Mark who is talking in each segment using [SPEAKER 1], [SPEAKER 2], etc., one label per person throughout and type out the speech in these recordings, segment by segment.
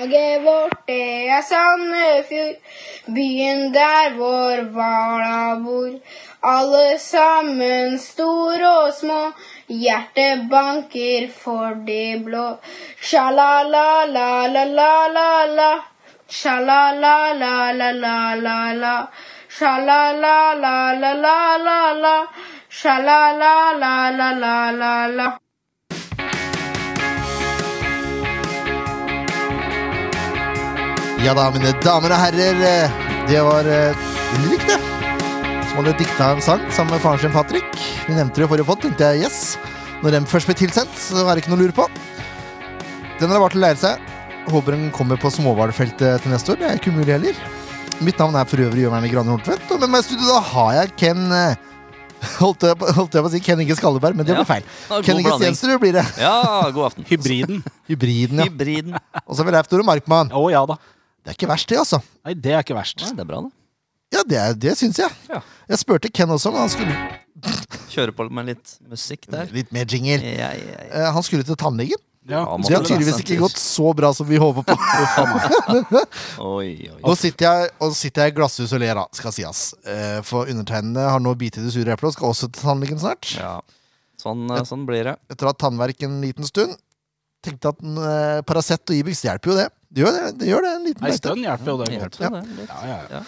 [SPEAKER 1] Laget vårt, det er Sandefjord, byen der vår hvala bor. Alle sammen, store og små, hjertet banker for de blå. Sja-la-la-la-la-la-la-la. Sja-la-la-la-la-la-la-la. Sja-la-la-la-la-la-la-la. Sja-la-la-la-la-la-la-la.
[SPEAKER 2] Ja da, mine damer og herrer. eh, Det var eh, Ulrik, det. Som hadde dikta en sang sammen med faren sin Patrick. Vi nevnte det i forrige pod, tenkte jeg yes. Når den først blir tilsendt, så er det ikke noe å lure på. Den er det bare til å lære seg. Håper den kommer på småhvalfeltet til neste år. Det er ikke umulig heller. Mitt navn er for øvrig Jørgen Graner Horntvedt, og med meg i studio da har jeg Ken eh, Holdt jeg, på, holdt jeg på å si Ken Inge Skalleberg, men det
[SPEAKER 3] Ja.
[SPEAKER 2] ble feil.
[SPEAKER 3] Ja, god
[SPEAKER 2] Ken Inge
[SPEAKER 3] blanding.
[SPEAKER 2] Stensrud blir det.
[SPEAKER 3] Ja, god aften.
[SPEAKER 4] Hybriden.
[SPEAKER 2] Hybriden, ja.
[SPEAKER 3] Hybriden. Nei,
[SPEAKER 2] Og så har vi Leif Tore Markmann.
[SPEAKER 4] Å ja da.
[SPEAKER 2] Det er ikke verst, det, altså.
[SPEAKER 4] Nei, det er ikke verst.
[SPEAKER 3] det er bra, da.
[SPEAKER 2] Ja, det, er- det syns jeg.
[SPEAKER 3] Ja.
[SPEAKER 2] Jeg spurte Ken også om han skulle
[SPEAKER 3] Kjøre på med litt musikk der.
[SPEAKER 2] Litt mer jingle.
[SPEAKER 3] Jeg, jeg,
[SPEAKER 2] Eh, han skulle til tannlegen.
[SPEAKER 3] Ja,
[SPEAKER 4] Ja.
[SPEAKER 3] man-
[SPEAKER 2] Det har tydeligvis ikke gått så bra som vi håper på.
[SPEAKER 3] Oi, oi.
[SPEAKER 2] Nå sitter jeg, og sitter jeg i glasshus og ler, da, skal sies. Eh, for undertegnede har nå bitt i det sure eplet og skal også til tannlegen snart.
[SPEAKER 3] Ja. Sånn, eh, sånn blir det.
[SPEAKER 2] Etter å ha hatt tannverk en liten stund. Tenkte at en, eh, Paracet og Ibix hjelper jo det. Det gjør det, det, gjør det en liten
[SPEAKER 4] Ei
[SPEAKER 2] bøtte.
[SPEAKER 4] stund hjelper jo det godt.
[SPEAKER 3] Hjelper jo det litt.
[SPEAKER 4] Ja, ja, ja.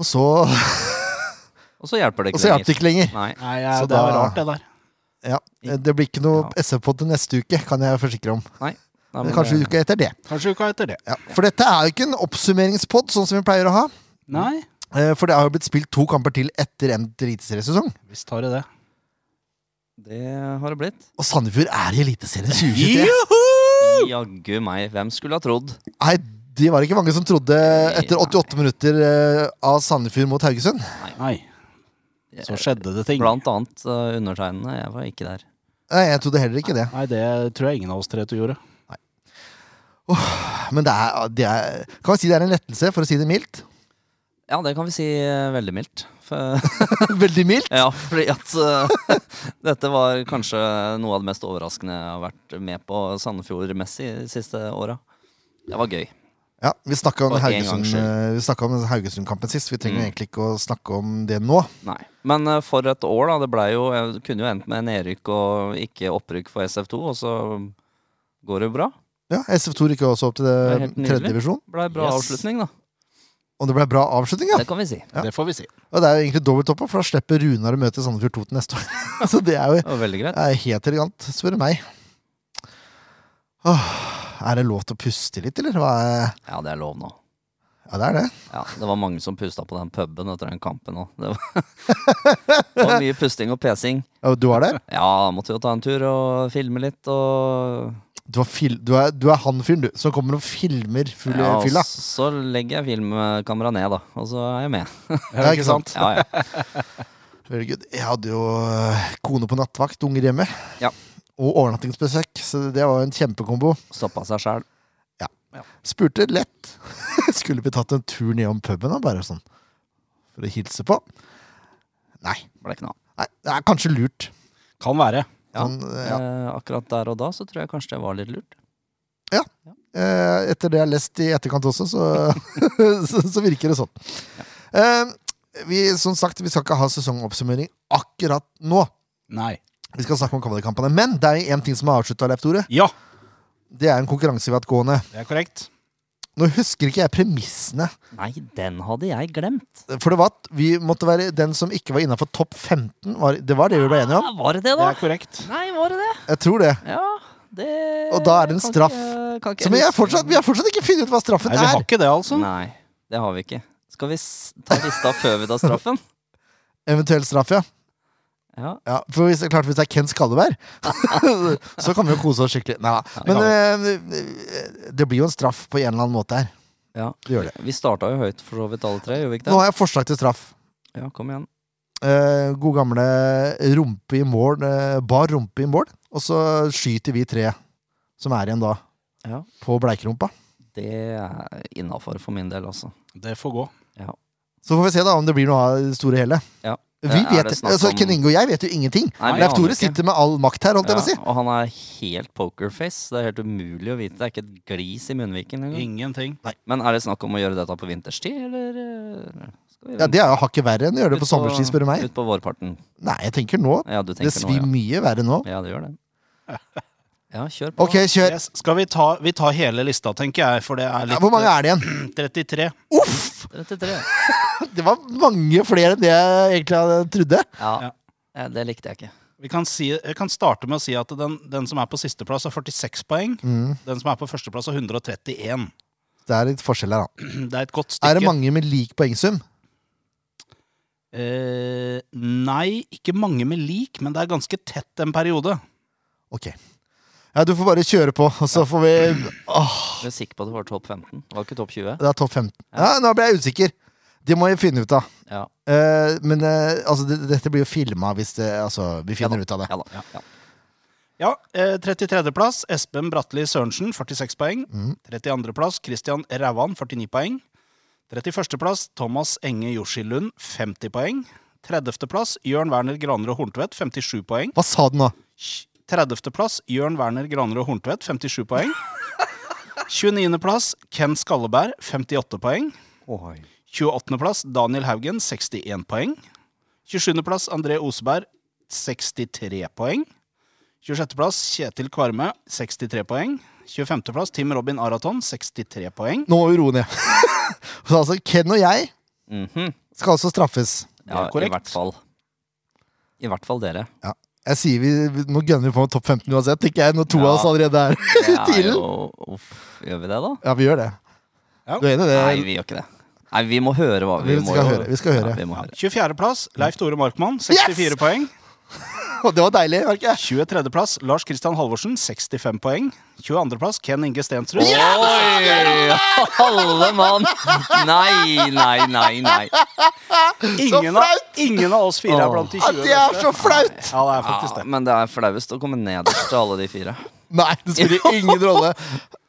[SPEAKER 2] Og så,
[SPEAKER 3] Og så hjelper det
[SPEAKER 2] og
[SPEAKER 3] ikke
[SPEAKER 2] så hjalp det ikke lenger.
[SPEAKER 3] Nei.
[SPEAKER 4] Nei, ja,
[SPEAKER 2] Så
[SPEAKER 4] det var
[SPEAKER 2] da-
[SPEAKER 4] rart, det der.
[SPEAKER 2] Ja, eh, det blir ikke noe
[SPEAKER 3] Ja.
[SPEAKER 2] SF-pod til neste uke, kan jeg forsikre om.
[SPEAKER 3] Nei. Nei,
[SPEAKER 2] Men
[SPEAKER 3] men eh,
[SPEAKER 2] kanskje
[SPEAKER 3] det-
[SPEAKER 2] uka etter det.
[SPEAKER 4] Kanskje uka etter det.
[SPEAKER 2] Ja, for dette er jo ikke en oppsummeringspod, sånn som vi pleier å ha.
[SPEAKER 4] Nei,
[SPEAKER 2] Eh, For det har jo blitt spilt to kamper til etter en eliteseriesesong.
[SPEAKER 4] visst har det det.
[SPEAKER 3] Det har det blitt.
[SPEAKER 2] Og Sandefjord er i Eliteserien 2023.
[SPEAKER 3] Jaggu meg. Hvem skulle ha trodd?
[SPEAKER 2] Nei, det var ikke mange som trodde etter 88 minutter eh, av Sandefjord mot Haugesund.
[SPEAKER 4] Nei, så skjedde det ting.
[SPEAKER 3] Blant annet eh, undertegnede. Jeg var ikke der.
[SPEAKER 2] Nei, jeg trodde heller ikke det.
[SPEAKER 4] Nei, det tror jeg ingen av oss tre to gjorde.
[SPEAKER 2] Men det er, det er Kan vi si det er en lettelse, for å si det mildt?
[SPEAKER 3] Ja, det kan vi si eh, veldig mildt. For,
[SPEAKER 2] Veldig mildt.
[SPEAKER 3] ja, fordi at eh, dette var kanskje noe av det mest overraskende jeg har vært med på Sandefjord-messig de siste åra. Det var gøy.
[SPEAKER 2] Ja, Vi snakka om
[SPEAKER 3] For en
[SPEAKER 2] Haugesund-
[SPEAKER 3] gangs skyld.
[SPEAKER 2] eh, vi snakket om Haugesund-kampen sist. Vi trenger
[SPEAKER 3] Mm.
[SPEAKER 2] egentlig ikke å snakke om det nå.
[SPEAKER 3] Nei. Men eh, for et år, da. Det ble jo, jeg kunne jo endt med nedrykk og ikke opprykk for SF2, og så går det jo bra.
[SPEAKER 2] Ja, SF2 rykka også opp til
[SPEAKER 3] Det er
[SPEAKER 2] det
[SPEAKER 3] helt nydelig.
[SPEAKER 2] tredje divisjon,
[SPEAKER 3] Blei bra
[SPEAKER 4] Yes.
[SPEAKER 3] avslutning, da.
[SPEAKER 2] og det ble bra avslutning. ja
[SPEAKER 3] Det kan vi si.
[SPEAKER 2] Ja.
[SPEAKER 4] Det får vi si.
[SPEAKER 2] Og det er jo egentlig dobbelt opp, for da slipper Runar å møte Sandefjord 2 til neste år. Så det er jo
[SPEAKER 3] Det var veldig greit.
[SPEAKER 2] er helt elegant, spør du meg. Åh, er det lov til å puste litt, eller? Hva er...
[SPEAKER 3] Ja, det er lov nå.
[SPEAKER 2] Ja, det er det.
[SPEAKER 3] Ja, Det var mange som pusta på den puben etter den kampen òg. Det, var- det var mye pusting og pesing.
[SPEAKER 2] Ja, Du var der?
[SPEAKER 3] Ja, måtte jo ta en tur og filme litt og
[SPEAKER 2] Du, var fil... du, er, du er han fyren, du, som kommer og filmer full
[SPEAKER 3] ja, og
[SPEAKER 2] fylla.
[SPEAKER 3] Så legger jeg filmkameraet ned, da. Og så er jeg med.
[SPEAKER 2] Ja, ikke sant?
[SPEAKER 3] Ja, ja.
[SPEAKER 2] Very good. Jeg hadde jo øh, kone på nattvakt, unger hjemme.
[SPEAKER 3] Ja.
[SPEAKER 2] Og overnattingsbesøk, så det var jo en kjempekombo.
[SPEAKER 3] Stoppa seg sjæl.
[SPEAKER 2] Spurte lett. Skulle vi tatt en tur nedom puben, da, bare sånn, for å hilse på? Nei.
[SPEAKER 3] Ble ikke noe av.
[SPEAKER 2] Nei, det er kanskje lurt.
[SPEAKER 4] Kan være.
[SPEAKER 3] Ja.
[SPEAKER 2] Sånn, eh, ja.
[SPEAKER 3] Eh, akkurat der og da så tror jeg kanskje det var litt lurt.
[SPEAKER 2] Eh, Etter det jeg har lest i etterkant også, så, så, så virker det sånn. Eh, Vi, som sagt, vi skal ikke ha sesongoppsummering akkurat nå.
[SPEAKER 4] Nei.
[SPEAKER 2] Vi skal snakke om kavalkampene. Men det er én ting som er avslutta, Leif Tore.
[SPEAKER 4] Ja,
[SPEAKER 2] Det er en konkurranse vi har hatt gående.
[SPEAKER 4] det er korrekt.
[SPEAKER 2] Nå husker ikke jeg premissene.
[SPEAKER 3] Nei, den hadde jeg glemt.
[SPEAKER 2] For det var at vi måtte være den som ikke var innafor topp 15. Var, det var det vi ble enige om.
[SPEAKER 3] Ja, var det det,
[SPEAKER 4] Det
[SPEAKER 3] da?
[SPEAKER 4] er korrekt.
[SPEAKER 3] Nei, var det det?
[SPEAKER 2] Jeg tror det.
[SPEAKER 3] Ja, det
[SPEAKER 2] Og da er det en
[SPEAKER 3] kan
[SPEAKER 2] straff.
[SPEAKER 3] ikke- kan ikke
[SPEAKER 2] Så, men jeg har
[SPEAKER 3] huske.
[SPEAKER 2] fortsatt, Sånn. vi har fortsatt ikke funnet ut hva straffen
[SPEAKER 4] Nei, vi har
[SPEAKER 2] er.
[SPEAKER 4] ikke det, altså.
[SPEAKER 3] Nei, det har vi ikke. Skal vi s- ta lista før vi tar straffen?
[SPEAKER 2] Eventuell straff, ja.
[SPEAKER 3] Ja.
[SPEAKER 2] Ja, for hvis, klart hvis det er Ken Skalleberg, så kan vi jo kose oss skikkelig. Neida.
[SPEAKER 3] det
[SPEAKER 2] Men eh, det blir jo en straff på en eller annen måte her.
[SPEAKER 3] ja.
[SPEAKER 2] Det gjør det.
[SPEAKER 3] Vi starta jo høyt, for så vidt alle tre. Gjorde vi ikke
[SPEAKER 2] Nå
[SPEAKER 3] det?
[SPEAKER 2] har jeg forslag til straff.
[SPEAKER 3] Ja, kom igjen.
[SPEAKER 2] Eh, god gamle rumpe i mål, eh, bar rumpe i mål. Og så skyter vi tre som er igjen da,
[SPEAKER 3] Ja.
[SPEAKER 2] på bleikrumpa.
[SPEAKER 3] Det er innafor for min del, altså.
[SPEAKER 4] Det får gå.
[SPEAKER 2] Så får vi se da om det blir noe av det store hele.
[SPEAKER 3] Ja.
[SPEAKER 2] Vi
[SPEAKER 3] Er
[SPEAKER 2] vet,
[SPEAKER 3] det snakk
[SPEAKER 2] altså,
[SPEAKER 3] om-
[SPEAKER 2] Ken Inge og jeg vet jo ingenting.
[SPEAKER 3] Nei, vi
[SPEAKER 2] Leif
[SPEAKER 3] aner
[SPEAKER 2] Tore
[SPEAKER 3] ikke.
[SPEAKER 2] sitter med all makt her, holdt jeg på å si.
[SPEAKER 3] Ja, og han er helt pokerface. Det er helt umulig å vite. Det er ikke et glis i munnviken engang.
[SPEAKER 4] Ingenting.
[SPEAKER 3] Men er det snakk om å gjøre dette på vinterstid, eller eh, skal vi
[SPEAKER 2] Ja, Det er jo hakket verre enn å gjøre det på sommerstid, spør du meg.
[SPEAKER 3] Ut på vårparten.
[SPEAKER 2] Nei, jeg tenker nå.
[SPEAKER 3] Ja, du tenker
[SPEAKER 2] Det svir
[SPEAKER 3] nå,
[SPEAKER 2] mye verre nå.
[SPEAKER 3] ja. ja, det gjør det. Ja, kjør på.
[SPEAKER 2] Ok, kjør.
[SPEAKER 4] Yes. Skal vi ta, vi tar hele lista, tenker jeg, for det er
[SPEAKER 2] Ja,
[SPEAKER 4] litt
[SPEAKER 2] hvor mange er det igjen?
[SPEAKER 4] eh, 33.
[SPEAKER 3] 33.
[SPEAKER 2] Det var mange flere enn det jeg egentlig hadde trodde.
[SPEAKER 3] Ja.
[SPEAKER 4] Ja.
[SPEAKER 3] Ja, det likte jeg ikke.
[SPEAKER 4] Vi kan si, jeg kan starte med å si at den, den som er på sisteplass, har 46 poeng.
[SPEAKER 2] Mm.
[SPEAKER 4] Den som er på førsteplass, har 131.
[SPEAKER 2] Det er litt forskjell her, da.
[SPEAKER 4] Det er et godt stykke.
[SPEAKER 2] Er det mange med lik poengsum?
[SPEAKER 4] Eh, nei, ikke mange med lik, men det er ganske tett en periode.
[SPEAKER 2] Ok. Ja, du får bare kjøre på, og så får vi Åh,
[SPEAKER 3] Jeg er sikker på at det var topp 15. Det var ikke topp 20.
[SPEAKER 2] det er topp 15. Ja, nå ble jeg usikker. Det må jeg finne ut av.
[SPEAKER 3] Ja,
[SPEAKER 2] Eh, men eh, altså, det, dette blir jo filma hvis det, altså, vi finner ut av det.
[SPEAKER 3] ja da. Ja.
[SPEAKER 4] Ja, eh, 33.-plass Espen Bratli Sørensen, 46 poeng.
[SPEAKER 2] Mm.
[SPEAKER 4] 32.-plass Christian Rævan, 49 poeng. 31.-plass Thomas Enge Joshi Lund, 50 poeng. 30.-plass Jørn Werner Graner og Horntvedt, 57 poeng.
[SPEAKER 2] Hva sa du nå?
[SPEAKER 4] 30.-plass Jørn Werner Graner og Horntvedt, 57 poeng. 29.-plass Ken Skalleberg, 58 poeng.
[SPEAKER 3] Oi.
[SPEAKER 4] 28.-plass Daniel Haugen, 61 poeng. 27.-plass André Oseberg, 63 poeng. 26.-plass Kjetil Kvarme, 63 poeng. 25.-plass Tim Robin Araton, 63 poeng.
[SPEAKER 2] Nå må vi roe ned. Så altså, Ken og jeg
[SPEAKER 3] Mhm.
[SPEAKER 2] skal altså straffes.
[SPEAKER 3] ja,
[SPEAKER 4] korrekt.
[SPEAKER 3] i hvert fall. I hvert fall dere.
[SPEAKER 2] Ja. Jeg sier vi, vi- Nå gønner vi på med topp 15 uansett, tenker jeg, når to av
[SPEAKER 3] Ja.
[SPEAKER 2] oss allerede er
[SPEAKER 3] Det
[SPEAKER 2] i
[SPEAKER 3] er
[SPEAKER 2] stilen.
[SPEAKER 3] jo Uff, gjør vi det, da?
[SPEAKER 2] Ja, vi gjør det.
[SPEAKER 4] Ja.
[SPEAKER 2] Du er enig i det?
[SPEAKER 3] Nei, vi gjør ikke det. Nei, vi må høre hva
[SPEAKER 2] Eh, Vi
[SPEAKER 3] må
[SPEAKER 2] skal
[SPEAKER 3] jo-
[SPEAKER 2] høre, vi skal høre.
[SPEAKER 3] Ja, vi må høre.
[SPEAKER 4] 24.-plass Leif Tore Markmann, 64 poeng.
[SPEAKER 2] Og det var deilig, var det ikke?
[SPEAKER 4] 23.-plass Lars Christian Halvorsen, 65 poeng. 22.-plass Ken Inge Stensrud.
[SPEAKER 3] Oi! Alle mann! Nei, nei, nei, nei.
[SPEAKER 4] Ingen, av, ingen av oss fire er blant de
[SPEAKER 2] Ja,
[SPEAKER 4] 20.
[SPEAKER 2] det er
[SPEAKER 3] altså.
[SPEAKER 4] beste.
[SPEAKER 2] så flaut!
[SPEAKER 4] Ja, det er faktisk
[SPEAKER 3] Ja,
[SPEAKER 4] det.
[SPEAKER 3] men det er flauest å komme nederst til alle de fire.
[SPEAKER 2] Nei, det spiller ingen rolle.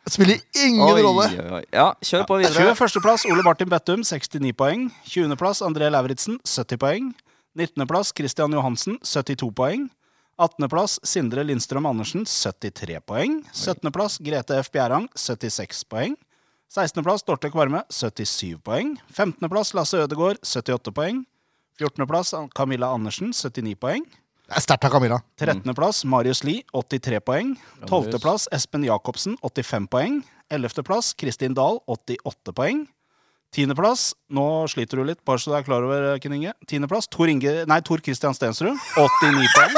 [SPEAKER 2] Det Spiller ingen rolle.
[SPEAKER 3] oi. Ja, kjør på videre.
[SPEAKER 4] 21.-plass Ole Martin Bettum, 69 poeng. 20.-plass André Lauritzen, 70 poeng. 19.-plass Christian Johansen, 72 poeng. 18.-plass Sindre Lindstrøm Andersen, 73 poeng. 17.-plass Grete F. Bjerang, 76 poeng. 16.-plass Dorte Kvarme, 77 poeng. 15.-plass Lasse Ødegaard, 78 poeng. 14.-plass Camilla Andersen, 79 poeng.
[SPEAKER 2] Det er sterkt av Camilla.
[SPEAKER 4] 13.-plass Marius Lie, 83 poeng. 12.-plass Espen Jacobsen, 85 poeng. 11.-plass Kristin Dahl, 88 poeng. 10.-plass Nå sliter du litt, bare så du er klar over, Ken Inge. 10.-plass Tor, Inge- nei, Tor Christian Stensrud, 89 poeng.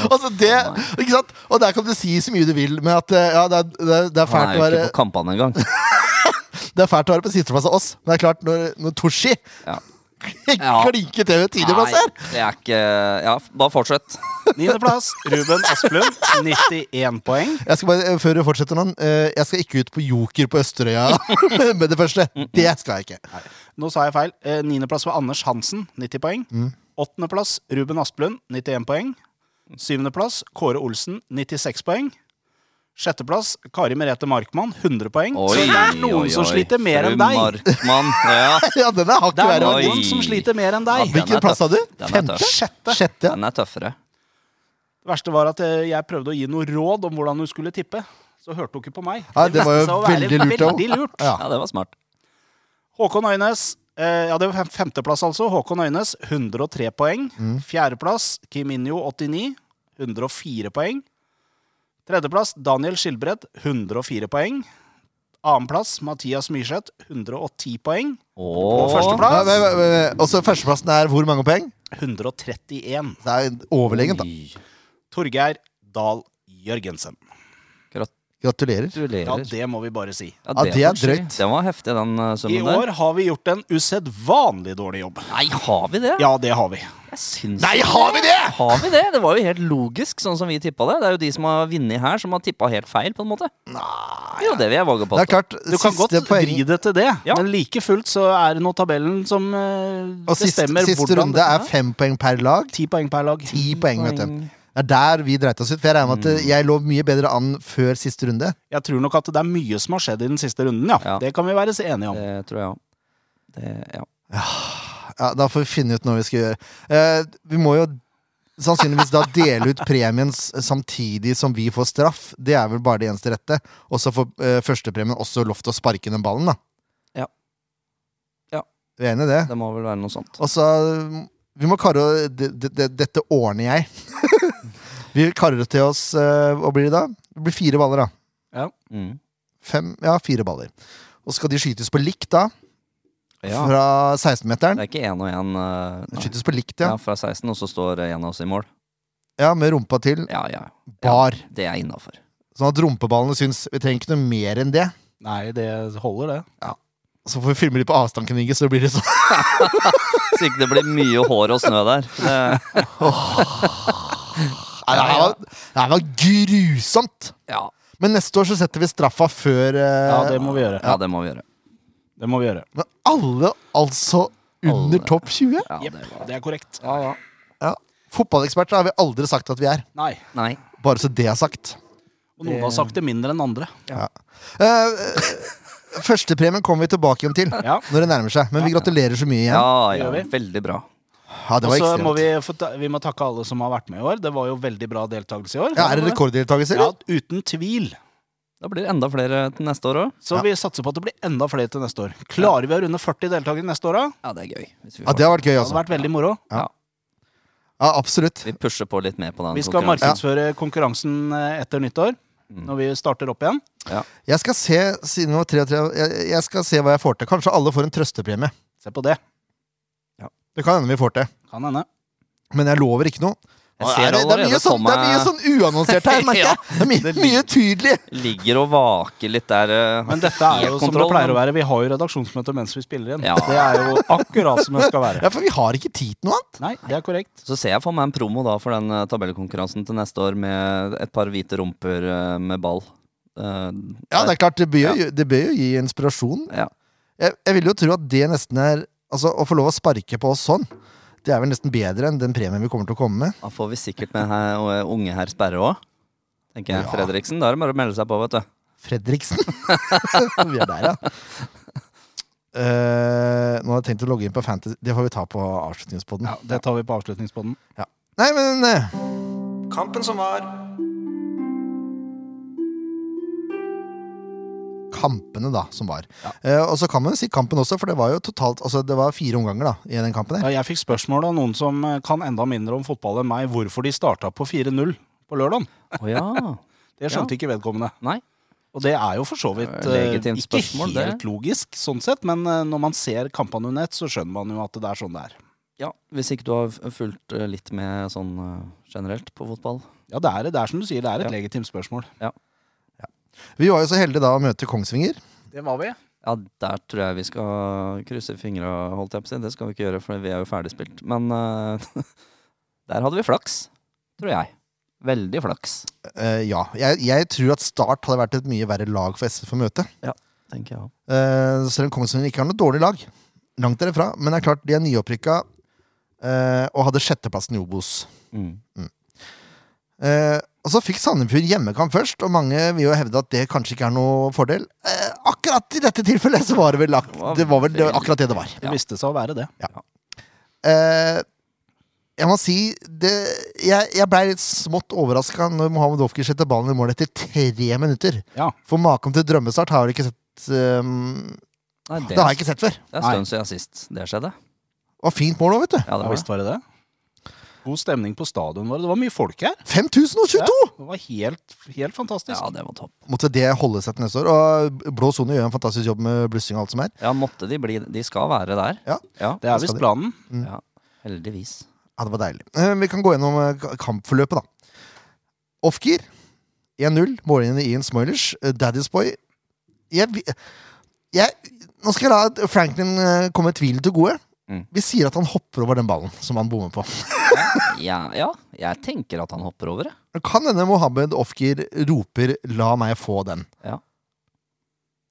[SPEAKER 2] Altså det, ikke sant? Og der kan du si så mye du vil, men at eh, ja, det, er, det, er- det, er
[SPEAKER 3] Han
[SPEAKER 2] fælt
[SPEAKER 3] er
[SPEAKER 2] å
[SPEAKER 3] jo
[SPEAKER 2] være,
[SPEAKER 3] ikke på kampene engang.
[SPEAKER 2] det er fælt å være på sisteplass av oss. Men det er klart, når, når Toshi
[SPEAKER 3] Ja. Ja.
[SPEAKER 2] klinker til med tiendeplass
[SPEAKER 3] Nei,
[SPEAKER 2] her
[SPEAKER 3] det er ikke Ja, bare fortsett.
[SPEAKER 4] 9.-plass Ruben Asplund, 91 poeng.
[SPEAKER 2] jeg skal bare, eh, Før du fortsetter, noen, eh, jeg skal ikke ut på Joker på Østerøya med det første. Det skal jeg ikke.
[SPEAKER 4] Nå sa jeg feil. Eh, Niendeplass var Anders Hansen, 90 poeng.
[SPEAKER 2] Mm.
[SPEAKER 4] Åttendeplass Ruben Asplund, 91 poeng. Syvendeplass Kåre Olsen, 96 poeng. Sjetteplass Kari Merete Markmann, 100 poeng.
[SPEAKER 3] Oi,
[SPEAKER 4] Så det er noen
[SPEAKER 3] oi,
[SPEAKER 4] som
[SPEAKER 3] oi.
[SPEAKER 4] sliter mer
[SPEAKER 3] Fru
[SPEAKER 4] enn deg.
[SPEAKER 3] Markmann. Ja.
[SPEAKER 2] Ja, den er hakket
[SPEAKER 4] Det er
[SPEAKER 2] verre.
[SPEAKER 3] Oi.
[SPEAKER 4] noen som sliter mer enn deg.
[SPEAKER 3] Ja, den
[SPEAKER 2] Hvilken
[SPEAKER 3] er
[SPEAKER 2] plass
[SPEAKER 3] tøff.
[SPEAKER 2] hadde du?
[SPEAKER 3] Den er
[SPEAKER 2] Femte?
[SPEAKER 3] tøff.
[SPEAKER 4] Sjette.
[SPEAKER 2] Sjette, ja.
[SPEAKER 3] Den er tøffere.
[SPEAKER 4] Det verste var at eh, jeg prøvde å gi noe råd om hvordan hun skulle tippe. Så hørte hun ikke på meg.
[SPEAKER 2] Ja, det var jo
[SPEAKER 4] viste seg å være
[SPEAKER 2] veldig lurt, da.
[SPEAKER 4] veldig lurt.
[SPEAKER 2] Ja.
[SPEAKER 3] Ja, det var smart.
[SPEAKER 4] Håkon Øynes. eh, ja, det var fem- femteplass, altså. Håkon Øynes, 103 poeng. Fjerdeplass, Kim Injo, 89. 104 poeng. Tredjeplass, Daniel Skilbred, 104 poeng. Annenplass, Mathias Myrseth, 110 poeng. Og
[SPEAKER 3] Åh.
[SPEAKER 2] Ja, men-
[SPEAKER 4] førsteplass,
[SPEAKER 2] men- men- Og så førsteplassen er hvor mange poeng?
[SPEAKER 4] 131.
[SPEAKER 2] Det er overlegent, da.
[SPEAKER 3] Oi,
[SPEAKER 4] Torgeir Dahl Jørgensen.
[SPEAKER 2] Gratulerer.
[SPEAKER 4] Ja,
[SPEAKER 3] Gratulerer.
[SPEAKER 4] det må vi bare si.
[SPEAKER 2] Ja, det er
[SPEAKER 3] får vi si.
[SPEAKER 2] drøyt.
[SPEAKER 3] Den var heftig, den eh,
[SPEAKER 4] I
[SPEAKER 3] summen der.
[SPEAKER 4] år har vi gjort en usedvanlig dårlig jobb.
[SPEAKER 3] Nei, har vi det?
[SPEAKER 4] Ja, det har vi.
[SPEAKER 3] Jeg syns
[SPEAKER 2] Nei, har vi det?!
[SPEAKER 3] Har vi det? Det var jo helt logisk, sånn som vi tippa det. Det er jo de som har vunnet her, som har tippa helt feil, på en måte. Nei Jo, det vil jeg våge på.
[SPEAKER 2] Det er klart,
[SPEAKER 4] Du kan godt
[SPEAKER 2] siste poeng
[SPEAKER 4] vri det til det,
[SPEAKER 3] Ja.
[SPEAKER 4] men like fullt så er det nå tabellen som eh,
[SPEAKER 2] Og siste,
[SPEAKER 4] bestemmer
[SPEAKER 2] siste
[SPEAKER 4] hvordan
[SPEAKER 2] runde er fem poeng per lag.
[SPEAKER 4] Ti poeng per lag.
[SPEAKER 2] Ti poeng, vet du. Det er der vi dreit oss ut. For jeg regner med at eh, jeg lå mye bedre an før siste runde.
[SPEAKER 4] Jeg tror nok at det er mye som har skjedd i den siste runden, ja.
[SPEAKER 3] Ja.
[SPEAKER 4] Det kan vi være enige om.
[SPEAKER 3] Det tror jeg òg. Det, ja.
[SPEAKER 2] Ja, Ja, da får vi finne ut noe vi skal gjøre. Eh, vi må jo sannsynligvis da dele ut premien s- samtidig som vi får straff. Det er vel bare det eneste rette. Og så får eh, førstepremien også lov til å sparke den ballen, da.
[SPEAKER 3] Ja. Ja.
[SPEAKER 2] Vi er enig i det?
[SPEAKER 3] Det må vel være noe sånt.
[SPEAKER 2] Og så um, Vi må karre å- det- det- det- Dette ordner jeg. vi karrer til oss eh, Hva blir det da? Det blir fire baller, da.
[SPEAKER 3] Mm.
[SPEAKER 2] Fem, ja, fire baller. Og skal de skytes på likt, da?
[SPEAKER 3] Ja.
[SPEAKER 2] Fra
[SPEAKER 3] Det
[SPEAKER 2] 16-meteren?
[SPEAKER 3] er ikke én og én
[SPEAKER 2] Skytes på likt,
[SPEAKER 3] ja.
[SPEAKER 2] ja.
[SPEAKER 3] fra 16, og så står en av oss i mål.
[SPEAKER 2] ja. Med rumpa til.
[SPEAKER 3] Ja, ja.
[SPEAKER 2] Bar.
[SPEAKER 3] Det er innafor.
[SPEAKER 2] Sånn at rumpeballene syns Vi trenger ikke noe mer enn det.
[SPEAKER 4] Nei, det holder, det.
[SPEAKER 2] Så får vi filme litt på avstand, kan Inge, så blir det sånn.
[SPEAKER 3] Så ikke det blir mye hår og snø der. Det,
[SPEAKER 2] Nei, det, her var, det her var grusomt!
[SPEAKER 3] ja.
[SPEAKER 2] Men neste år så setter vi straffa før eh,
[SPEAKER 4] Ja, det må vi gjøre.
[SPEAKER 3] ja, det må vi gjøre.
[SPEAKER 4] Det må vi gjøre.
[SPEAKER 2] Men alle altså under
[SPEAKER 3] Alle.
[SPEAKER 2] topp 20?
[SPEAKER 3] Ja,
[SPEAKER 4] Jepp,
[SPEAKER 3] det var.
[SPEAKER 4] det er korrekt.
[SPEAKER 2] Ja. Fotballeksperter har vi aldri sagt at vi er.
[SPEAKER 4] Nei.
[SPEAKER 3] Nei.
[SPEAKER 2] Bare så det er sagt.
[SPEAKER 4] Og noen har sagt det mindre enn andre.
[SPEAKER 2] Eh, Førstepremien kommer vi tilbake igjen til
[SPEAKER 4] Ja.
[SPEAKER 2] når det nærmer seg. Men vi gratulerer så mye igjen.
[SPEAKER 3] Ja, ja,
[SPEAKER 4] Det gjør vi.
[SPEAKER 3] veldig bra.
[SPEAKER 2] Ja, det
[SPEAKER 4] Og
[SPEAKER 2] var
[SPEAKER 4] så må
[SPEAKER 2] ekstremt.
[SPEAKER 4] vi, få ta, vi må takke alle som har vært med i år. Det var jo veldig bra deltakelse i år.
[SPEAKER 2] Ja, er det rekorddeltakelse,
[SPEAKER 4] Ja,
[SPEAKER 2] eller?
[SPEAKER 4] uten tvil.
[SPEAKER 3] Da blir det enda flere til neste år òg.
[SPEAKER 4] Så vi satser på at det blir enda flere til neste år. Klarer vi å runde 40 deltakere neste år, da?
[SPEAKER 3] Ja, det er gøy. Hvis vi,
[SPEAKER 2] Ja,
[SPEAKER 3] får
[SPEAKER 2] det har vært gøy,
[SPEAKER 4] Det hadde
[SPEAKER 2] altså.
[SPEAKER 4] vært veldig moro.
[SPEAKER 2] Ja, absolutt.
[SPEAKER 3] det. vi pusher på litt mer på den
[SPEAKER 4] Vi skal
[SPEAKER 3] konkurransen.
[SPEAKER 4] markedsføre konkurransen eh, etter nyttår,
[SPEAKER 3] Mm.
[SPEAKER 4] når vi starter opp igjen.
[SPEAKER 2] Jeg skal se siden det var tre og tre, jeg, jeg skal se hva jeg får til. Kanskje alle får en trøstepremie.
[SPEAKER 4] Se på det.
[SPEAKER 2] Det kan hende vi får til.
[SPEAKER 4] Kan hende.
[SPEAKER 2] Men jeg lover ikke noe.
[SPEAKER 3] Jeg
[SPEAKER 2] Nå
[SPEAKER 3] ser
[SPEAKER 2] er det, det, er
[SPEAKER 3] allerede
[SPEAKER 2] mye sånn, det er mye sånn uannonsert her, merker jeg. Det er mye, mye tydelig.
[SPEAKER 3] Ligger og vaker litt der. eh,
[SPEAKER 4] Men dette er jo
[SPEAKER 3] helt
[SPEAKER 4] som det
[SPEAKER 3] kontroll,
[SPEAKER 4] pleier å
[SPEAKER 3] men-
[SPEAKER 4] være. Vi har jo redaksjonsmøte mens vi spiller igjen.
[SPEAKER 3] Ja.
[SPEAKER 4] Det er jo akkurat som det skal være.
[SPEAKER 2] Ja, for vi har ikke tid til noe annet.
[SPEAKER 4] Nei, det er korrekt.
[SPEAKER 3] Så ser jeg for meg en promo da for den eh, tabellkonkurransen til neste år med et par hvite rumper eh, med ball. Eh,
[SPEAKER 2] Ja, det er klart, det bør jo,
[SPEAKER 3] Ja.
[SPEAKER 2] det bør jo gi inspirasjon.
[SPEAKER 3] Ja.
[SPEAKER 2] Jeg, jeg vil jo tro at det nesten er Altså, å få lov å sparke på oss sånn, det er vel nesten bedre enn den premien vi kommer til å komme med.
[SPEAKER 3] Da får vi sikkert med her, og, eh, unge herr Sperre òg. Tenker jeg. Fredriksen. Da er det bare å melde seg på, vet du.
[SPEAKER 2] Fredriksen. vi er der, ja. Eh, nå har jeg tenkt å logge inn på Fantasy. Det får vi ta på avslutningspodden.
[SPEAKER 4] Ja, det tar vi på avslutningspodden.
[SPEAKER 2] Nei, men eh,
[SPEAKER 5] Kampen som var.
[SPEAKER 2] kampene, da, som var. Eh, og så kan man jo si kampen også, for det var jo totalt Altså, det var fire omganger da, i den kampen. Der.
[SPEAKER 4] Ja, jeg fikk spørsmål av noen som eh, kan enda mindre om fotball enn meg, hvorfor de starta på 4-0 på lørdag.
[SPEAKER 3] Å ja.
[SPEAKER 4] Det skjønte ikke vedkommende.
[SPEAKER 3] Nei.
[SPEAKER 4] Og det er jo for så vidt
[SPEAKER 3] Det er
[SPEAKER 4] eh,
[SPEAKER 3] et legitimt
[SPEAKER 4] ikke
[SPEAKER 3] spørsmål, det.
[SPEAKER 4] helt logisk, sånn sett, men eh, når man ser kampene under ett, så skjønner man jo at det er sånn det er.
[SPEAKER 3] Ja, hvis ikke du har f- fulgt eh, litt med sånn eh, generelt på fotball.
[SPEAKER 4] Ja, det er, det er som du sier, det er et
[SPEAKER 3] Ja.
[SPEAKER 4] legitimt spørsmål.
[SPEAKER 2] Vi var jo så heldige da å møte Kongsvinger.
[SPEAKER 4] Det var vi.
[SPEAKER 3] Ja, der tror jeg vi skal krysse fingra, holdt jeg på å si. Det skal vi ikke gjøre, for vi er jo ferdigspilt. Men eh, der hadde vi flaks, tror jeg. Veldig flaks,
[SPEAKER 2] Eh, ja. Jeg, jeg tror at Start hadde vært et mye verre lag for SF å møte.
[SPEAKER 3] tenker jeg òg.
[SPEAKER 2] Eh, selv om Kongsvinger ikke har noe dårlig lag. Langt derifra. Men det er klart, de er nyopprykka eh, og hadde sjetteplassen i Obos.
[SPEAKER 3] Mm.
[SPEAKER 2] Eh, og så fikk Sandefjord hjemmekamp først, og mange vil jo hevde at det kanskje ikke er noe fordel. Eh, akkurat i dette tilfellet så var det vel, ak det var vel det, akkurat det det var.
[SPEAKER 4] Det viste seg å være det.
[SPEAKER 2] Eh, jeg må si det, Jeg, jeg blei litt smått overraska når Mohammed Ofker setter ballen i mål etter tre minutter.
[SPEAKER 4] Ja.
[SPEAKER 2] For maken til drømmestart har jeg ikke sett eh,
[SPEAKER 3] Nei, det,
[SPEAKER 2] Det har jeg ikke sett før.
[SPEAKER 3] det er en stund siden sist det skjedde.
[SPEAKER 2] Det var fint mål òg, vet du.
[SPEAKER 3] Ja, det
[SPEAKER 4] Ja,
[SPEAKER 3] var det.
[SPEAKER 4] visst var det det. God stemning på stadion vår. Det var mye folk her.
[SPEAKER 2] 5022!
[SPEAKER 4] Det var helt, helt fantastisk.
[SPEAKER 3] Ja, det var topp.
[SPEAKER 2] Måtte det holde seg til neste år. Og Blå sone gjør en fantastisk jobb med blussing og alt som er.
[SPEAKER 3] Ja, måtte de bli De skal være der.
[SPEAKER 2] Ja.
[SPEAKER 3] ja.
[SPEAKER 4] det er visst planen.
[SPEAKER 3] ja. Heldigvis.
[SPEAKER 2] Ja, det var deilig. Eh, Vi kan gå gjennom eh, ka- kampforløpet, da. Off-gear 1-0. Mållinjen i Ian Smoilers. Eh, Daddy's Boy jeg, vi- jeg, Nå skal jeg la Franklin eh, komme tvilen til gode.
[SPEAKER 3] Mm.
[SPEAKER 2] Vi sier at han hopper over den ballen som han bommer på.
[SPEAKER 3] Ja, ja, jeg tenker at han hopper over det.
[SPEAKER 2] Det Kan hende Mohammed Off-gear roper 'la meg få den'.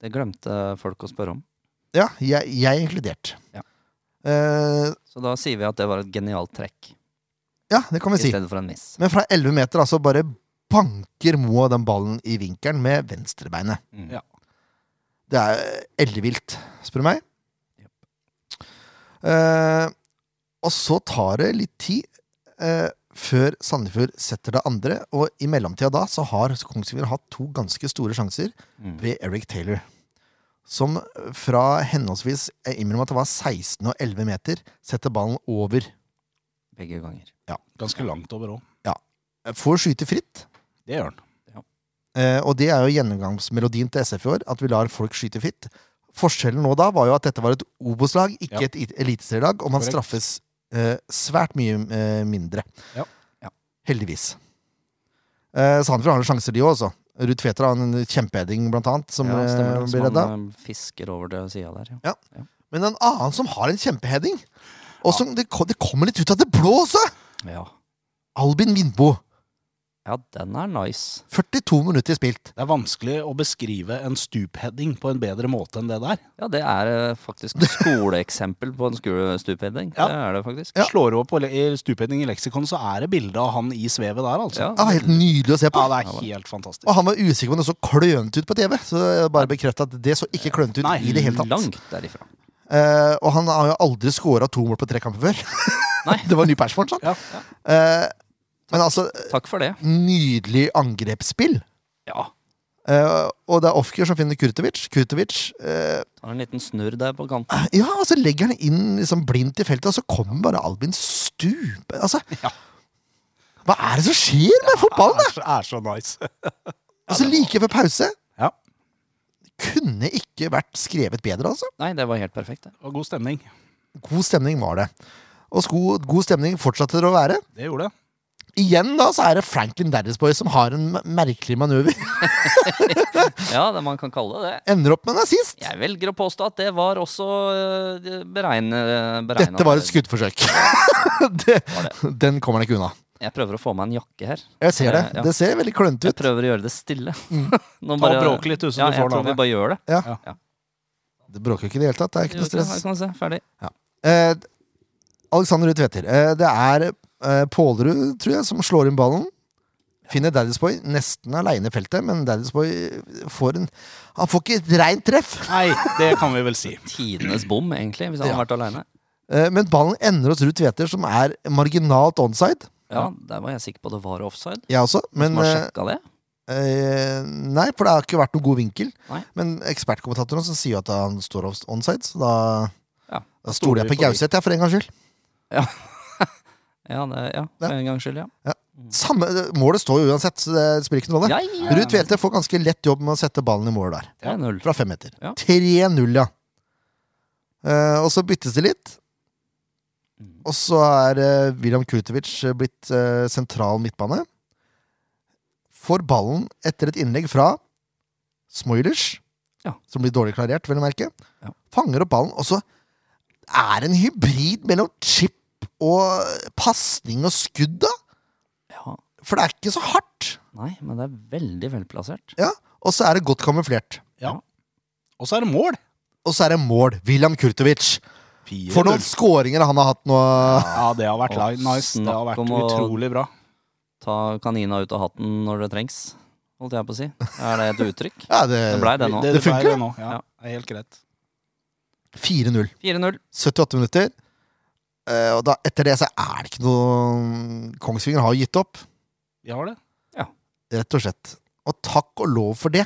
[SPEAKER 3] Det glemte folk å spørre om.
[SPEAKER 2] Ja, jeg, jeg inkludert.
[SPEAKER 3] Ja.
[SPEAKER 2] Eh,
[SPEAKER 3] Så da sier vi at det var et genialt trekk,
[SPEAKER 2] ja, det kan vi
[SPEAKER 3] i
[SPEAKER 2] si.
[SPEAKER 3] stedet for en miss.
[SPEAKER 2] Men fra 11 meter altså bare banker Moa den ballen i vinkelen med venstrebeinet.
[SPEAKER 3] Mm.
[SPEAKER 4] Ja.
[SPEAKER 2] Det er ellevilt, spør du meg. Eh, Og så tar det litt tid eh, før Sandefjord setter det andre, og i mellomtida da så har Kongsvinger hatt to ganske store sjanser
[SPEAKER 3] Mm.
[SPEAKER 2] ved Eric Taylor. Som fra henholdsvis jeg innrømmer at det var 16 og 11 meter, setter ballen over.
[SPEAKER 3] Begge ganger.
[SPEAKER 4] Ganske langt over òg.
[SPEAKER 2] Eh, Får skyte fritt,
[SPEAKER 4] Det gjør han.
[SPEAKER 2] eh, og det er jo gjennomgangsmelodien til SF i år, at vi lar folk skyte fritt. Forskjellen nå da var jo at dette var et Obos-lag, ikke
[SPEAKER 4] Ja.
[SPEAKER 2] et it- eliteserielag, og man
[SPEAKER 4] Korrekt.
[SPEAKER 2] straffes eh, svært mye eh, mindre.
[SPEAKER 4] Ja.
[SPEAKER 3] Ja.
[SPEAKER 2] Heldigvis. Eh, Sandefjord har noen sjanser, de òg, altså. Ruud Tveter har en kjempeheading, blant annet, som
[SPEAKER 3] ja, stemmer
[SPEAKER 2] eh,
[SPEAKER 3] det.
[SPEAKER 2] blir
[SPEAKER 3] Som
[SPEAKER 2] redda.
[SPEAKER 3] han eh, fisker over til sida der, ja.
[SPEAKER 2] Men en annen som har en kjempeheading, og som det, ko- det kommer litt ut av det blå også!
[SPEAKER 3] ja.
[SPEAKER 2] Albin Vindbo.
[SPEAKER 3] Ja, den er nice.
[SPEAKER 2] 42 minutter spilt.
[SPEAKER 4] Det er vanskelig å beskrive en stupheading på en bedre måte enn det der.
[SPEAKER 3] Ja, det er eh, faktisk skoleeksempel på en skole stupheading.
[SPEAKER 4] Ja.
[SPEAKER 3] Det er det faktisk.
[SPEAKER 4] Slår du opp på le- i stupheading i leksikon, så er det bilde av han i svevet der, altså.
[SPEAKER 3] Ja.
[SPEAKER 2] Det var helt nydelig å se på.
[SPEAKER 4] Ja, det er helt fantastisk.
[SPEAKER 2] Og han var usikker på om det så klønete ut på TV, så jeg bare bekrefta at det så ikke klønete ut
[SPEAKER 4] Nei,
[SPEAKER 2] i det hele tatt.
[SPEAKER 3] Langt derifra.
[SPEAKER 2] Eh, og han har jo aldri scora to mål på tre kamper før.
[SPEAKER 3] Nei.
[SPEAKER 2] det var ny pers for han, sånn.
[SPEAKER 4] Ja.
[SPEAKER 2] Eh, men altså,
[SPEAKER 3] Takk for det.
[SPEAKER 2] nydelig angrepsspill.
[SPEAKER 3] Ja.
[SPEAKER 2] Eh, og det er Ofker som finner Kurtovic. Kurtovic eh,
[SPEAKER 3] Tar en liten snurr der på kanten.
[SPEAKER 2] Ja, og så legger han inn liksom blindt i feltet, og så kommer bare Albin stupe Altså,
[SPEAKER 4] Ja.
[SPEAKER 2] hva er det som skjer med fotballen, da?
[SPEAKER 4] Er, så- er så nice.
[SPEAKER 2] Og så like før pause.
[SPEAKER 4] Ja.
[SPEAKER 2] Kunne ikke vært skrevet bedre, altså.
[SPEAKER 3] Nei, det var helt perfekt, det.
[SPEAKER 4] Og god stemning.
[SPEAKER 2] God stemning var det. Og sko- god stemning fortsatte det å være.
[SPEAKER 4] Det gjorde det.
[SPEAKER 2] Igjen da, så er det Franklin Daddiesboy som har en m- merkelig manøver.
[SPEAKER 3] Ja, det man kan kalle det det.
[SPEAKER 2] Ender opp med en assist.
[SPEAKER 3] Jeg velger å påstå at det var også eh, beregne, beregnet.
[SPEAKER 2] Dette var et skuddforsøk. det, den kommer han ikke unna.
[SPEAKER 3] Jeg prøver å få meg en jakke her.
[SPEAKER 2] Jeg ser det.
[SPEAKER 3] Eh, ja.
[SPEAKER 2] Det ser veldig klønete
[SPEAKER 3] Jeg
[SPEAKER 2] ut.
[SPEAKER 3] prøver å gjøre det stille. Nå
[SPEAKER 4] Ta og bråk litt, du, så
[SPEAKER 3] ja,
[SPEAKER 4] du
[SPEAKER 3] jeg
[SPEAKER 4] får
[SPEAKER 3] tror
[SPEAKER 4] lave.
[SPEAKER 3] vi bare gjør det.
[SPEAKER 2] Det bråker ikke i det hele tatt. Det er ikke noe stress.
[SPEAKER 3] Her kan du se. Ferdig.
[SPEAKER 2] Eh, Alexander Ruud Tveter. Eh, det er eh, Pålerud, tror jeg, som slår inn ballen. Finner Daddiesboy nesten aleine i feltet, men Daddiesboy får en Han får ikke et reint treff,
[SPEAKER 4] Nei, det kan vi vel si.
[SPEAKER 3] Tidenes bom, egentlig, hvis han hadde vært aleine.
[SPEAKER 2] eh, men ballen ender hos Ruud Tveter, som er marginalt onside.
[SPEAKER 3] Ja, der var jeg sikker på det var offside.
[SPEAKER 2] Jeg også, men
[SPEAKER 3] Som har
[SPEAKER 2] eh,
[SPEAKER 3] sjekka det.
[SPEAKER 2] eh, Nei, for det har ikke vært noen god vinkel.
[SPEAKER 3] Nei.
[SPEAKER 2] Men ekspertkommentatoren som sier at han står off- onside, så da,
[SPEAKER 3] Ja.
[SPEAKER 2] da stoler jeg
[SPEAKER 4] vi
[SPEAKER 2] på
[SPEAKER 4] på de.
[SPEAKER 2] Gauseth, jeg, for en gangs skyld.
[SPEAKER 3] Ja, det, ja, for en gangs skyld, ja.
[SPEAKER 2] Samme, eh, målet står jo uansett, så det spiller ikke noen rolle.
[SPEAKER 3] Mm. Ja, ja.
[SPEAKER 2] Ruud Tveter får ganske lett jobb med å sette ballen i mål der.
[SPEAKER 3] 3-0.
[SPEAKER 2] Fra fem meter.
[SPEAKER 3] Ja.
[SPEAKER 2] 3-0, ja. Eh, og så byttes det litt.
[SPEAKER 3] Mm.
[SPEAKER 2] Og så er eh, William Kurtovic eh, blitt eh, sentral midtbane. Får ballen etter et innlegg fra Smoilers,
[SPEAKER 3] Ja.
[SPEAKER 2] som blir dårlig klarert, vel å merke.
[SPEAKER 3] Ja.
[SPEAKER 2] Fanger opp ballen, og så er det en hybrid mellom chip og pasning og skudd, da.
[SPEAKER 3] Ja.
[SPEAKER 2] For det er ikke så hardt.
[SPEAKER 3] Nei, men det er veldig velplassert.
[SPEAKER 2] Ja. Og så er det godt kamuflert.
[SPEAKER 4] Og så er det mål.
[SPEAKER 2] Og så er det mål. William Kurtovic.
[SPEAKER 4] Fire
[SPEAKER 2] For noen
[SPEAKER 4] null.
[SPEAKER 2] skåringer han har hatt nå.
[SPEAKER 4] Ja, det har vært
[SPEAKER 3] Å,
[SPEAKER 4] li- nice. Det har
[SPEAKER 3] snakk
[SPEAKER 4] vært
[SPEAKER 3] om å-
[SPEAKER 4] utrolig bra.
[SPEAKER 3] Ta kanina ut av hatten når det trengs, holdt jeg på å si. Er det et uttrykk?
[SPEAKER 2] Ja, det,
[SPEAKER 3] Det blei det nå.
[SPEAKER 4] Det,
[SPEAKER 2] Eh, Det funker,
[SPEAKER 4] ble det nå. Ja,
[SPEAKER 3] Ja.
[SPEAKER 4] det er helt greit.
[SPEAKER 2] 4-0.
[SPEAKER 3] 4-0.
[SPEAKER 2] 78 minutter. Eh, og da, etter det så er det ikke noe Kongsvinger har gitt opp,
[SPEAKER 4] Vi har det.
[SPEAKER 2] rett og slett. Og takk og lov for det.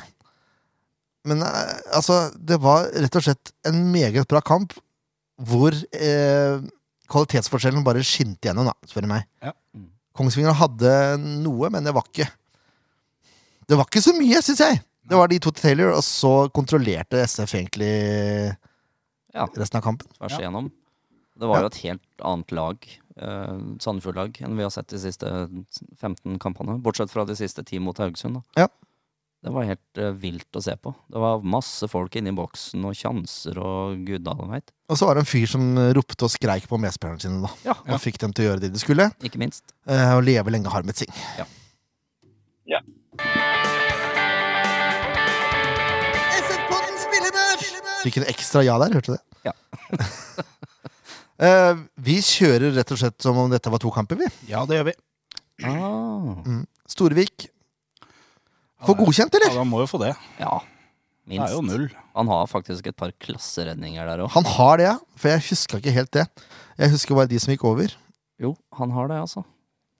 [SPEAKER 2] Men eh, altså, det var rett og slett en meget bra kamp hvor eh, kvalitetsforskjellen bare skinte gjennom, da, spør du meg.
[SPEAKER 4] Ja.
[SPEAKER 3] Mm.
[SPEAKER 2] Kongsvinger hadde noe, men det var ikke Det var ikke så mye, syns jeg. Det var de to til Taylor, og så kontrollerte SF egentlig
[SPEAKER 3] Ja.
[SPEAKER 2] resten av kampen.
[SPEAKER 3] Tvers
[SPEAKER 4] Ja.
[SPEAKER 3] igjennom. Det var jo et helt annet lag, eh, Sandefjord-lag, enn vi har sett de siste 15 kampene. Bortsett fra de siste ti mot Haugesund, da.
[SPEAKER 2] Ja.
[SPEAKER 3] Det var helt eh, vilt å se på. Det var masse folk inne i boksen, og sjanser og gudene veit.
[SPEAKER 2] Og så var det en fyr som ropte og skreik på medspillerne sine, da.
[SPEAKER 3] Ja,
[SPEAKER 2] Og fikk dem til å gjøre det de skulle.
[SPEAKER 3] ikke minst.
[SPEAKER 2] eh, Og leve lenge har med ting.
[SPEAKER 3] Ja.
[SPEAKER 6] Ja.
[SPEAKER 2] Fikk en ekstra ja der, hørte du det?
[SPEAKER 3] Ja.
[SPEAKER 2] Eh, vi kjører rett og slett som om dette var to kamper, vi.
[SPEAKER 4] Ja, det gjør vi.
[SPEAKER 3] Ah.
[SPEAKER 2] Storvik. Får godkjent,
[SPEAKER 4] Ja,
[SPEAKER 2] eller?
[SPEAKER 4] da må jo få det.
[SPEAKER 3] Ja.
[SPEAKER 4] Det
[SPEAKER 3] Minst.
[SPEAKER 4] er jo null.
[SPEAKER 3] Han har faktisk et par klasseredninger der òg.
[SPEAKER 2] Han har det, ja. For jeg huska ikke helt det. Jeg husker bare de som gikk over.
[SPEAKER 3] Jo, han har det, altså.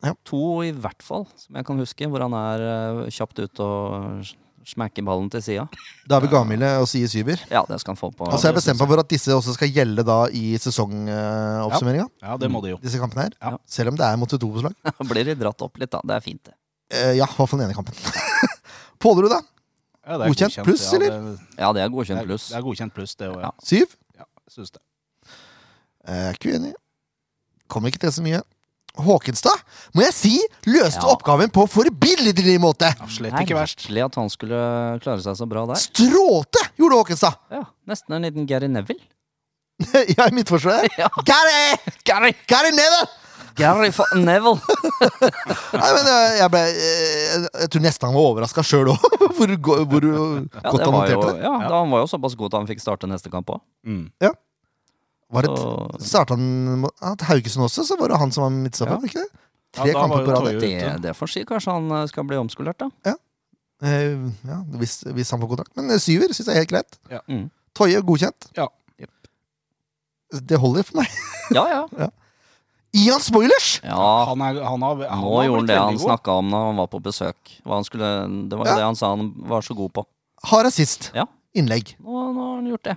[SPEAKER 2] Ja.
[SPEAKER 3] To i hvert fall, som jeg kan huske, hvor han er eh, kjapt ute og smekker ballen til sida.
[SPEAKER 2] David Gamile og Sie Syver.
[SPEAKER 3] Ja, det skal han få på.
[SPEAKER 2] Altså Jeg bestemte meg for at disse også skal gjelde da i sesongoppsummeringa.
[SPEAKER 4] Ja, det må det jo.
[SPEAKER 2] Disse kampene her.
[SPEAKER 3] Ja.
[SPEAKER 2] Selv om det er mot et doboslag.
[SPEAKER 3] Blir de dratt opp litt, da. Det er fint, det.
[SPEAKER 2] Eh, ja, i hvert fall den ene kampen. Pålerud, da?
[SPEAKER 4] Ja, det er
[SPEAKER 2] Godkjent pluss,
[SPEAKER 4] Ja, det-
[SPEAKER 3] Ja, det er
[SPEAKER 4] Det
[SPEAKER 3] godkjent
[SPEAKER 4] er,
[SPEAKER 3] pluss.
[SPEAKER 4] det er godkjent pluss, det òg. Ja.
[SPEAKER 3] Ja.
[SPEAKER 2] Syv?
[SPEAKER 4] Ja, synes det.
[SPEAKER 2] Jeg er ikke uenig. Kommer ikke til så mye. Håkenstad, må jeg si, løste
[SPEAKER 3] Ja.
[SPEAKER 2] oppgaven på forbilledlig måte!
[SPEAKER 4] Ja, slett
[SPEAKER 3] Det er
[SPEAKER 4] ikke verst.
[SPEAKER 3] merkelig at han skulle klare seg så bra der.
[SPEAKER 2] Strålte, gjorde Håkenstad!
[SPEAKER 3] Ja, Nesten en liten Gary Neville.
[SPEAKER 2] ja, i midtforsvaret.
[SPEAKER 3] Ja.
[SPEAKER 2] Gary!
[SPEAKER 3] Gary,
[SPEAKER 2] Gary Neville!
[SPEAKER 3] Gary fa- Neville!
[SPEAKER 2] Nei, men eh, jeg, ble, eh, jeg tror nesten han var overraska sjøl òg, hvor, go- hvor godt han
[SPEAKER 3] Ja, det var jo,
[SPEAKER 2] noterte det.
[SPEAKER 3] ja, da, han var jo såpass god at han fikk starte neste kamp òg.
[SPEAKER 4] Mm.
[SPEAKER 2] Var det
[SPEAKER 3] Så-
[SPEAKER 2] Starta han mot ja, til Haugesund også, så var det han som var midtstopper? var
[SPEAKER 3] Ja.
[SPEAKER 2] det ikke det?
[SPEAKER 4] Ja,
[SPEAKER 2] Tre
[SPEAKER 4] da var
[SPEAKER 2] kamper
[SPEAKER 4] jo
[SPEAKER 2] på rad.
[SPEAKER 4] Toyo
[SPEAKER 3] Det,
[SPEAKER 4] ute.
[SPEAKER 3] det får si. Kanskje han eh, skal bli omskolert, da.
[SPEAKER 2] Eh, ja, hvis, hvis han får kontrakt. Men eh, syver syns jeg er helt greit.
[SPEAKER 4] Ja.
[SPEAKER 3] Mm.
[SPEAKER 2] Toje godkjent.
[SPEAKER 4] Ja.
[SPEAKER 3] Jep.
[SPEAKER 2] Det holder for meg.
[SPEAKER 3] Ja, ja.
[SPEAKER 2] Ian Spoilers!
[SPEAKER 3] ja
[SPEAKER 4] Han, er, han har, han
[SPEAKER 3] Nå
[SPEAKER 4] har
[SPEAKER 3] gjorde han
[SPEAKER 4] blitt
[SPEAKER 3] det han
[SPEAKER 4] veldig god.
[SPEAKER 3] snakka om når han var på besøk. Hva han skulle, det var jo
[SPEAKER 2] Ja.
[SPEAKER 3] det han sa han var så god på.
[SPEAKER 2] Har assist.
[SPEAKER 3] Ja.
[SPEAKER 2] Innlegg.
[SPEAKER 3] Nå, nå har han gjort det.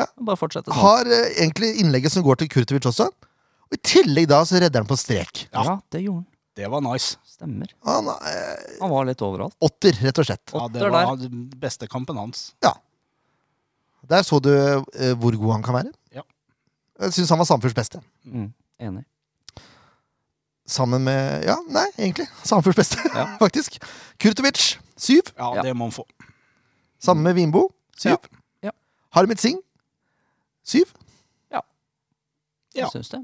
[SPEAKER 2] Ja.
[SPEAKER 3] Bare fortsette sånn.
[SPEAKER 2] Har eh, egentlig innlegget som går til Kurtovic også. Og I tillegg da så redder han på strek.
[SPEAKER 3] Ja. det gjorde han.
[SPEAKER 4] Det var nice.
[SPEAKER 3] Stemmer.
[SPEAKER 2] Han eh,
[SPEAKER 3] Han var litt overalt.
[SPEAKER 2] åtter, rett og slett.
[SPEAKER 4] Ja, det
[SPEAKER 3] Åtter
[SPEAKER 4] var
[SPEAKER 3] der.
[SPEAKER 4] han- den beste kampen hans.
[SPEAKER 2] Der så du eh, hvor god han kan være.
[SPEAKER 4] Ja.
[SPEAKER 2] Jeg syns han var Sandefjords beste.
[SPEAKER 3] Mm, enig.
[SPEAKER 2] Sammen med Ja, nei, egentlig. Sandefjords beste,
[SPEAKER 3] Ja.
[SPEAKER 2] faktisk. Kurtovic, syv.
[SPEAKER 4] Ja,
[SPEAKER 3] Ja.
[SPEAKER 4] det må han få.
[SPEAKER 2] Sammen med Vimbo, syv.
[SPEAKER 3] Ja. Ja.
[SPEAKER 2] Harmit Singh, syv.
[SPEAKER 4] Ja.
[SPEAKER 3] Jeg syns det.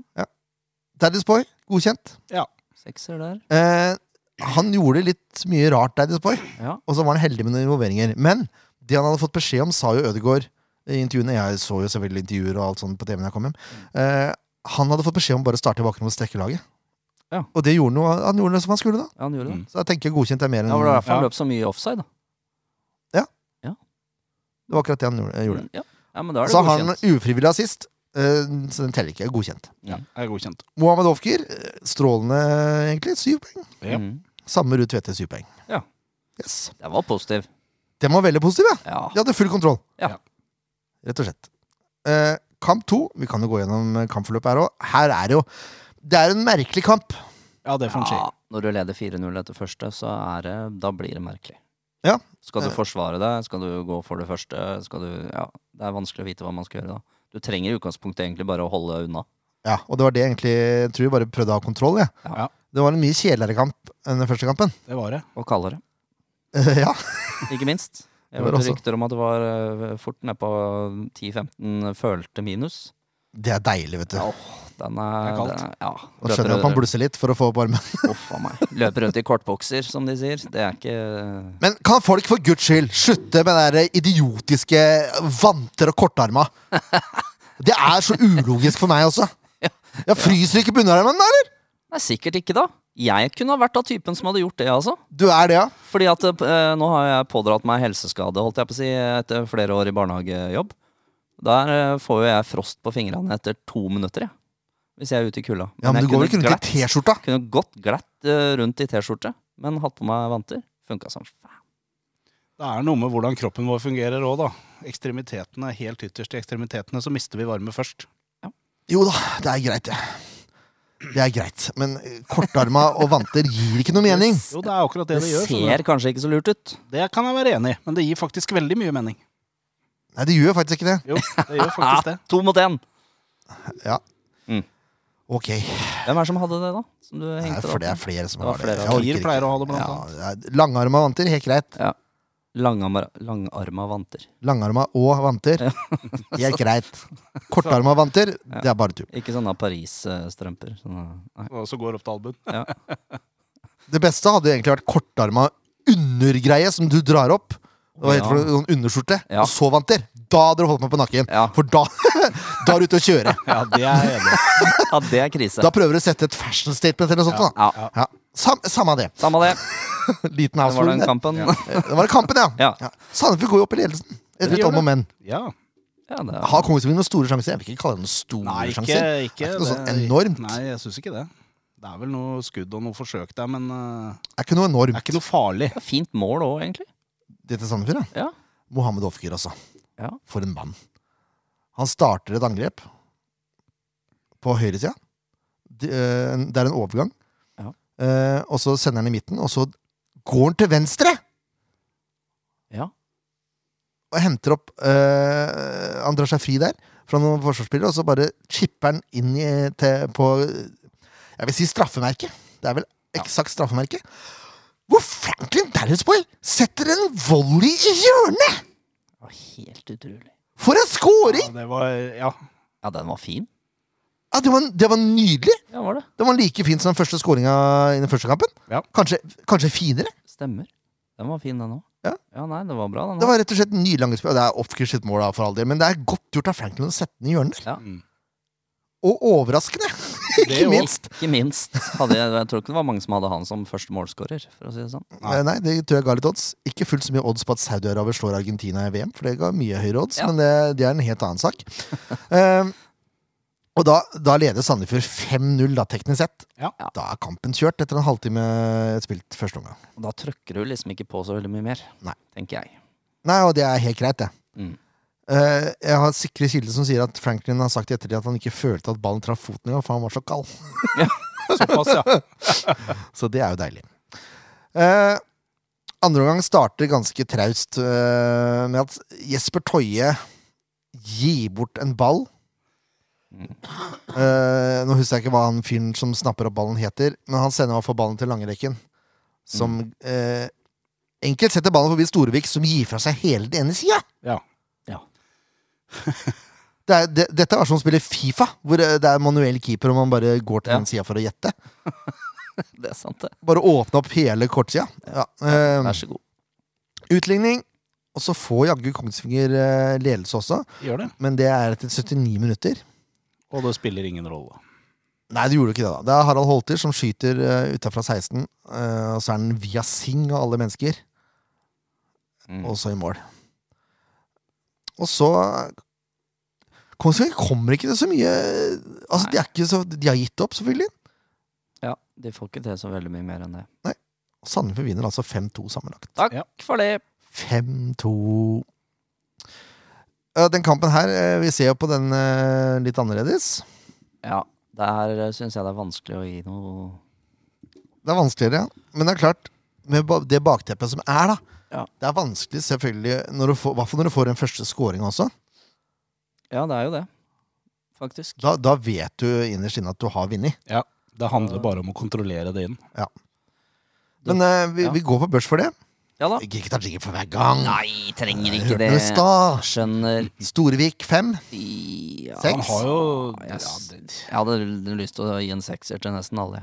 [SPEAKER 2] Daddy's Boy, godkjent.
[SPEAKER 3] Sekser der.
[SPEAKER 2] Eh, han gjorde litt mye rart, Daddy's Boy.
[SPEAKER 3] Ja.
[SPEAKER 2] Og så var han heldig med noen involveringer. Men det han hadde fått beskjed om, sa jo Ødegaard i intervjuene. Jeg så jo selvfølgelig intervjuer og alt sånt på TV når jeg kom hjem. Eh, han hadde fått beskjed om bare å starte i bakgrunnen og strekke laget.
[SPEAKER 3] Ja.
[SPEAKER 2] Og det gjorde han jo. Han gjorde det som han skulle, da.
[SPEAKER 3] ja, han gjorde det.
[SPEAKER 4] Mm.
[SPEAKER 2] Så jeg tenker godkjent er mer enn
[SPEAKER 3] Ja, var det derfor han
[SPEAKER 4] Ja.
[SPEAKER 3] løp så mye offside, da?
[SPEAKER 2] Det var akkurat det han gjorde. gjorde.
[SPEAKER 3] Ja. ja, men da er det
[SPEAKER 2] Så han
[SPEAKER 3] godkjent.
[SPEAKER 2] ufrivillig assist, eh, så den teller ikke. Godkjent.
[SPEAKER 4] Ja, jeg er godkjent.
[SPEAKER 2] Mohammed Ofker, eh, strålende egentlig. Syv poeng.
[SPEAKER 4] Ja.
[SPEAKER 3] Mm.
[SPEAKER 2] Samme Ruud Tvedte, syv poeng.
[SPEAKER 3] Ja.
[SPEAKER 2] Yes.
[SPEAKER 3] Den var positiv.
[SPEAKER 2] Den var veldig positiv, ja.
[SPEAKER 3] Ja.
[SPEAKER 2] De hadde full kontroll.
[SPEAKER 3] Ja.
[SPEAKER 2] Rett og slett. Eh, kamp to. Vi kan jo gå gjennom eh, kampforløpet her òg. Her er det jo Det er en merkelig kamp.
[SPEAKER 4] Ja, det får
[SPEAKER 2] sånn
[SPEAKER 4] han si.
[SPEAKER 3] Ja, når du leder 4-0 etter første, så er det, da blir det merkelig.
[SPEAKER 2] Ja.
[SPEAKER 3] Skal du
[SPEAKER 2] Eh.
[SPEAKER 3] forsvare deg? Skal du gå for det første? Skal du, ja, det er vanskelig å vite hva man skal gjøre da. Du trenger i utgangspunktet egentlig bare å holde unna.
[SPEAKER 2] Ja, og det var det egentlig Jeg tror jeg bare prøvde å ha kontroll. Ja.
[SPEAKER 4] Ja.
[SPEAKER 2] Det var en mye kjedeligere kamp enn den første kampen.
[SPEAKER 4] Det var det.
[SPEAKER 3] Og kaldere,
[SPEAKER 2] Eh, ja.
[SPEAKER 3] ikke minst. Jeg
[SPEAKER 2] Det var
[SPEAKER 3] hørte
[SPEAKER 2] også-
[SPEAKER 3] rykter om at det var eh, fort ned på 10-15 følte minus.
[SPEAKER 2] Det er deilig, vet du.
[SPEAKER 3] Ja, den er,
[SPEAKER 4] Det er kaldt.
[SPEAKER 3] Den er, ja.
[SPEAKER 2] Da skjønner jeg at man blusser litt for å få opp armen.
[SPEAKER 3] Uff a meg. Løper rundt i kortbokser, som de sier. Det er ikke
[SPEAKER 2] Men kan folk for guds skyld slutte med det der idiotiske vanter og kortarma? Det er så ulogisk for meg også. Jeg fryser ikke på underarmen, da, eller?
[SPEAKER 3] Nei, sikkert ikke, da. Jeg kunne ha vært av typen som hadde gjort det, altså.
[SPEAKER 2] Du er det, ja?
[SPEAKER 3] Fordi at eh, nå har jeg pådratt meg helseskade, holdt jeg på å si, etter flere år i barnehagejobb. Der eh, får jo jeg frost på fingrene etter to minutter, jeg. Hvis jeg er ute i kulda.
[SPEAKER 2] Ja, Men
[SPEAKER 3] jeg
[SPEAKER 2] du går vel ikke
[SPEAKER 3] kunne
[SPEAKER 2] rundt i
[SPEAKER 3] glatt-
[SPEAKER 2] T-skjorta?
[SPEAKER 3] Kunne gått glatt eh, rundt i T-skjorte, men hatt på meg vanter. Funka som faen.
[SPEAKER 4] Det er noe med hvordan kroppen vår fungerer òg, da. Ekstremitetene, helt ytterst i ekstremitetene, så mister vi varme først.
[SPEAKER 2] Jo da, det er greit, det. Det er greit, men eh, kortarma og vanter gir ikke noe mening.
[SPEAKER 4] Jo, det er akkurat det
[SPEAKER 3] Det
[SPEAKER 4] det, gjør. så
[SPEAKER 3] ser kanskje ikke så lurt ut.
[SPEAKER 4] Det, det kan jeg være enig i, men det gir faktisk veldig mye mening.
[SPEAKER 2] Nei, det gjør faktisk ikke det.
[SPEAKER 4] Jo, det gjør faktisk det.
[SPEAKER 3] To mot én!
[SPEAKER 2] Ok,
[SPEAKER 3] Hvem er det som hadde det, da? Som du
[SPEAKER 2] Nei,
[SPEAKER 3] hengte
[SPEAKER 2] for det
[SPEAKER 3] det
[SPEAKER 2] er
[SPEAKER 3] opp?
[SPEAKER 2] flere som
[SPEAKER 3] Det var
[SPEAKER 2] har det.
[SPEAKER 3] flere.
[SPEAKER 2] Jeg orker
[SPEAKER 4] Kier
[SPEAKER 2] ikke.
[SPEAKER 4] pleier å ha det, blant annet.
[SPEAKER 2] Ja, det er Langarma og vanter, helt greit.
[SPEAKER 3] Langarma, langarma vanter.
[SPEAKER 2] Langarma og vanter, helt greit. Kortarma og vanter, det er bare tull.
[SPEAKER 3] Ikke sånne Paris-strømper. Sånne, nei.
[SPEAKER 4] Og så går opp til albuen.
[SPEAKER 2] Det beste hadde jo egentlig vært kortarma undergreie som du drar opp. Det var helt
[SPEAKER 3] Ja.
[SPEAKER 2] for noen underskjorte.
[SPEAKER 3] Ja.
[SPEAKER 2] Og så vanter. Da hadde du holdt meg på nakken.
[SPEAKER 3] Ja.
[SPEAKER 2] For da Da er du ute å kjøre.
[SPEAKER 4] Ja, det er jeg enig i.
[SPEAKER 3] Ja, det er krise.
[SPEAKER 2] Da prøver du å sette et fashion statement eller noe sånt.
[SPEAKER 3] Ja.
[SPEAKER 2] da. Ja. Sam, samme det.
[SPEAKER 3] Samme det.
[SPEAKER 2] Liten
[SPEAKER 3] Det var
[SPEAKER 2] household.
[SPEAKER 3] den kampen.
[SPEAKER 2] Eh, Det var kampen, ja.
[SPEAKER 3] Ja.
[SPEAKER 2] Sandefjord går jo opp i ledelsen. Etter
[SPEAKER 4] Det
[SPEAKER 2] et
[SPEAKER 4] gjør
[SPEAKER 2] om og
[SPEAKER 4] det.
[SPEAKER 2] men.
[SPEAKER 4] Ja.
[SPEAKER 3] Ja, det
[SPEAKER 2] Har Kongsvinger noen store sjanser? Jeg vil ikke kalle det noen store
[SPEAKER 4] Nei, ikke,
[SPEAKER 2] sjanser.
[SPEAKER 4] ikke,
[SPEAKER 2] Det er ikke noe sånn
[SPEAKER 4] det-
[SPEAKER 2] enormt.
[SPEAKER 4] Nei, jeg syns ikke det. Det er vel noe skudd og noe forsøk der, men eh,
[SPEAKER 2] Det er ikke noe
[SPEAKER 4] det
[SPEAKER 2] enormt,
[SPEAKER 4] er ikke noe farlig.
[SPEAKER 3] er fint mål òg, egentlig.
[SPEAKER 2] dette Sandefjord. da.
[SPEAKER 3] Ja.
[SPEAKER 2] Mohammed Ofker, altså.
[SPEAKER 3] Ja.
[SPEAKER 2] For en mann. Han starter et angrep på høyresida. Det eh, en- det er en overgang.
[SPEAKER 3] Ja.
[SPEAKER 2] Eh, og så sender han i midten, og så går han til venstre
[SPEAKER 3] Ja.
[SPEAKER 2] og henter opp eh, Han drar seg fri der fra noen forsvarsspillere, og så bare chipper han inn i, til, på Jeg vil si straffemerket. Det er vel eksakt straffemerke. Hvor Franklin Dallasboy setter en volley i hjørnet!
[SPEAKER 3] Det var helt utrolig.
[SPEAKER 2] For en
[SPEAKER 4] Ja,
[SPEAKER 2] scoring!
[SPEAKER 4] det var, ja.
[SPEAKER 3] Ja, den var fin.
[SPEAKER 2] Ja, det, var, det var nydelig.
[SPEAKER 3] Ja, var det.
[SPEAKER 2] Det var like fint som den første scoringa i den første kampen.
[SPEAKER 4] Ja.
[SPEAKER 2] Kanskje, kanskje finere.
[SPEAKER 3] Stemmer. Den var fin, den òg.
[SPEAKER 2] Ja.
[SPEAKER 3] nei, det var bra, den
[SPEAKER 2] Det
[SPEAKER 3] òg.
[SPEAKER 2] var rett og slett nydelig angrepsspill. Og Det er off-kurs sitt mål, da, for all del, men det er godt gjort av Franklin å sette den i hjørnet.
[SPEAKER 3] Ja.
[SPEAKER 4] Mm.
[SPEAKER 2] Og overraskende,
[SPEAKER 4] Det
[SPEAKER 2] ikke
[SPEAKER 4] òg.
[SPEAKER 2] minst.
[SPEAKER 3] Ikke minst. Hadde jeg, jeg tror ikke det var mange som hadde han som første målskårer, for å si det sånn.
[SPEAKER 4] Nei.
[SPEAKER 2] Nei. Eh, Nei, det tror jeg ga litt odds. Ikke fullt så mye odds på at Saudi-Arabia slår Argentina i VM, for det ga mye høyere odds,
[SPEAKER 3] Ja.
[SPEAKER 2] men det, det er en helt annen sak. Ehm, og da, da leder Sandefjord 5-0, da, teknisk sett.
[SPEAKER 4] Ja.
[SPEAKER 2] Da er kampen kjørt etter en halvtime spilt første omgang.
[SPEAKER 3] Og Da trykker du liksom ikke på så veldig mye mer,
[SPEAKER 2] Nei.
[SPEAKER 3] tenker jeg.
[SPEAKER 2] Nei, og det er helt greit, det.
[SPEAKER 3] Mm.
[SPEAKER 2] Eh, jeg har sikre kilder som sier at Franklin har sagt i ettertid at han ikke følte at ballen traff foten engang, for han var så kald.
[SPEAKER 4] Såpass, ja.
[SPEAKER 2] Så det er jo deilig. Eh, andre omgang starter ganske traust eh, med at Jesper Toje gir bort en ball. Eh, nå husker jeg ikke hva han fyren som snapper opp ballen, heter, men han sender i hvert fall ballen til langrekken. Som eh, enkelt setter ballen forbi Storevik, som gir fra seg hele den ene sida.
[SPEAKER 4] ja.
[SPEAKER 2] Det er, det, dette er som å spille Fifa, hvor eh, det er manuell keeper, og man bare går til
[SPEAKER 3] Ja.
[SPEAKER 2] den sida for å gjette.
[SPEAKER 3] Det er sant, det.
[SPEAKER 2] Bare åpne opp hele kortsida. Ja. eh,
[SPEAKER 3] Vær så god.
[SPEAKER 2] Utligning. Og så får jaggu Kongsvinger eh, ledelse også,
[SPEAKER 4] Gjør det.
[SPEAKER 2] men det er etter 79 minutter.
[SPEAKER 4] Og det spiller ingen rolle.
[SPEAKER 2] Nei, det gjorde ikke det, da. Det er Harald Holter som skyter uh, utafra 16, eh, og så er den via Sing og alle mennesker,
[SPEAKER 3] Mm.
[SPEAKER 2] og så i mål. Og så Kongsvinger kommer ikke til så mye Altså, de, er ikke så, de har gitt opp, selvfølgelig.
[SPEAKER 3] Ja, de får ikke til så veldig mye mer enn det.
[SPEAKER 2] Sandefjord vinner altså 5-2 sammenlagt.
[SPEAKER 3] Takk
[SPEAKER 4] Ja.
[SPEAKER 3] for det!
[SPEAKER 2] 5-2. Ja, den kampen her, eh, vi ser jo på den eh, litt annerledes.
[SPEAKER 3] Ja, der syns jeg det er vanskelig å gi noe
[SPEAKER 2] Det er vanskeligere, ja. Men det er klart, med ba- det bakteppet som er, da.
[SPEAKER 3] Ja.
[SPEAKER 2] Det er vanskelig, selvfølgelig, når du får, i hvert fall når du får den første scoringa også.
[SPEAKER 3] Ja, det er jo det, faktisk.
[SPEAKER 2] Da, da vet du innerst inne at du har vunnet.
[SPEAKER 4] Ja. Det handler bare om å kontrollere det inn.
[SPEAKER 2] Men eh, vi,
[SPEAKER 3] Ja.
[SPEAKER 2] vi går på børs for det.
[SPEAKER 3] Ja da.
[SPEAKER 2] Vi gidder ikke ta jingle for hver gang.
[SPEAKER 3] Nei, trenger ikke det.
[SPEAKER 2] Hørnestad,
[SPEAKER 3] Skjønner
[SPEAKER 2] Storevik 5,
[SPEAKER 3] ja.
[SPEAKER 2] Seks.
[SPEAKER 4] Han har jo ja,
[SPEAKER 3] Yes.
[SPEAKER 4] det,
[SPEAKER 3] Jeg hadde l- lyst til å gi en sekser til nesten alle.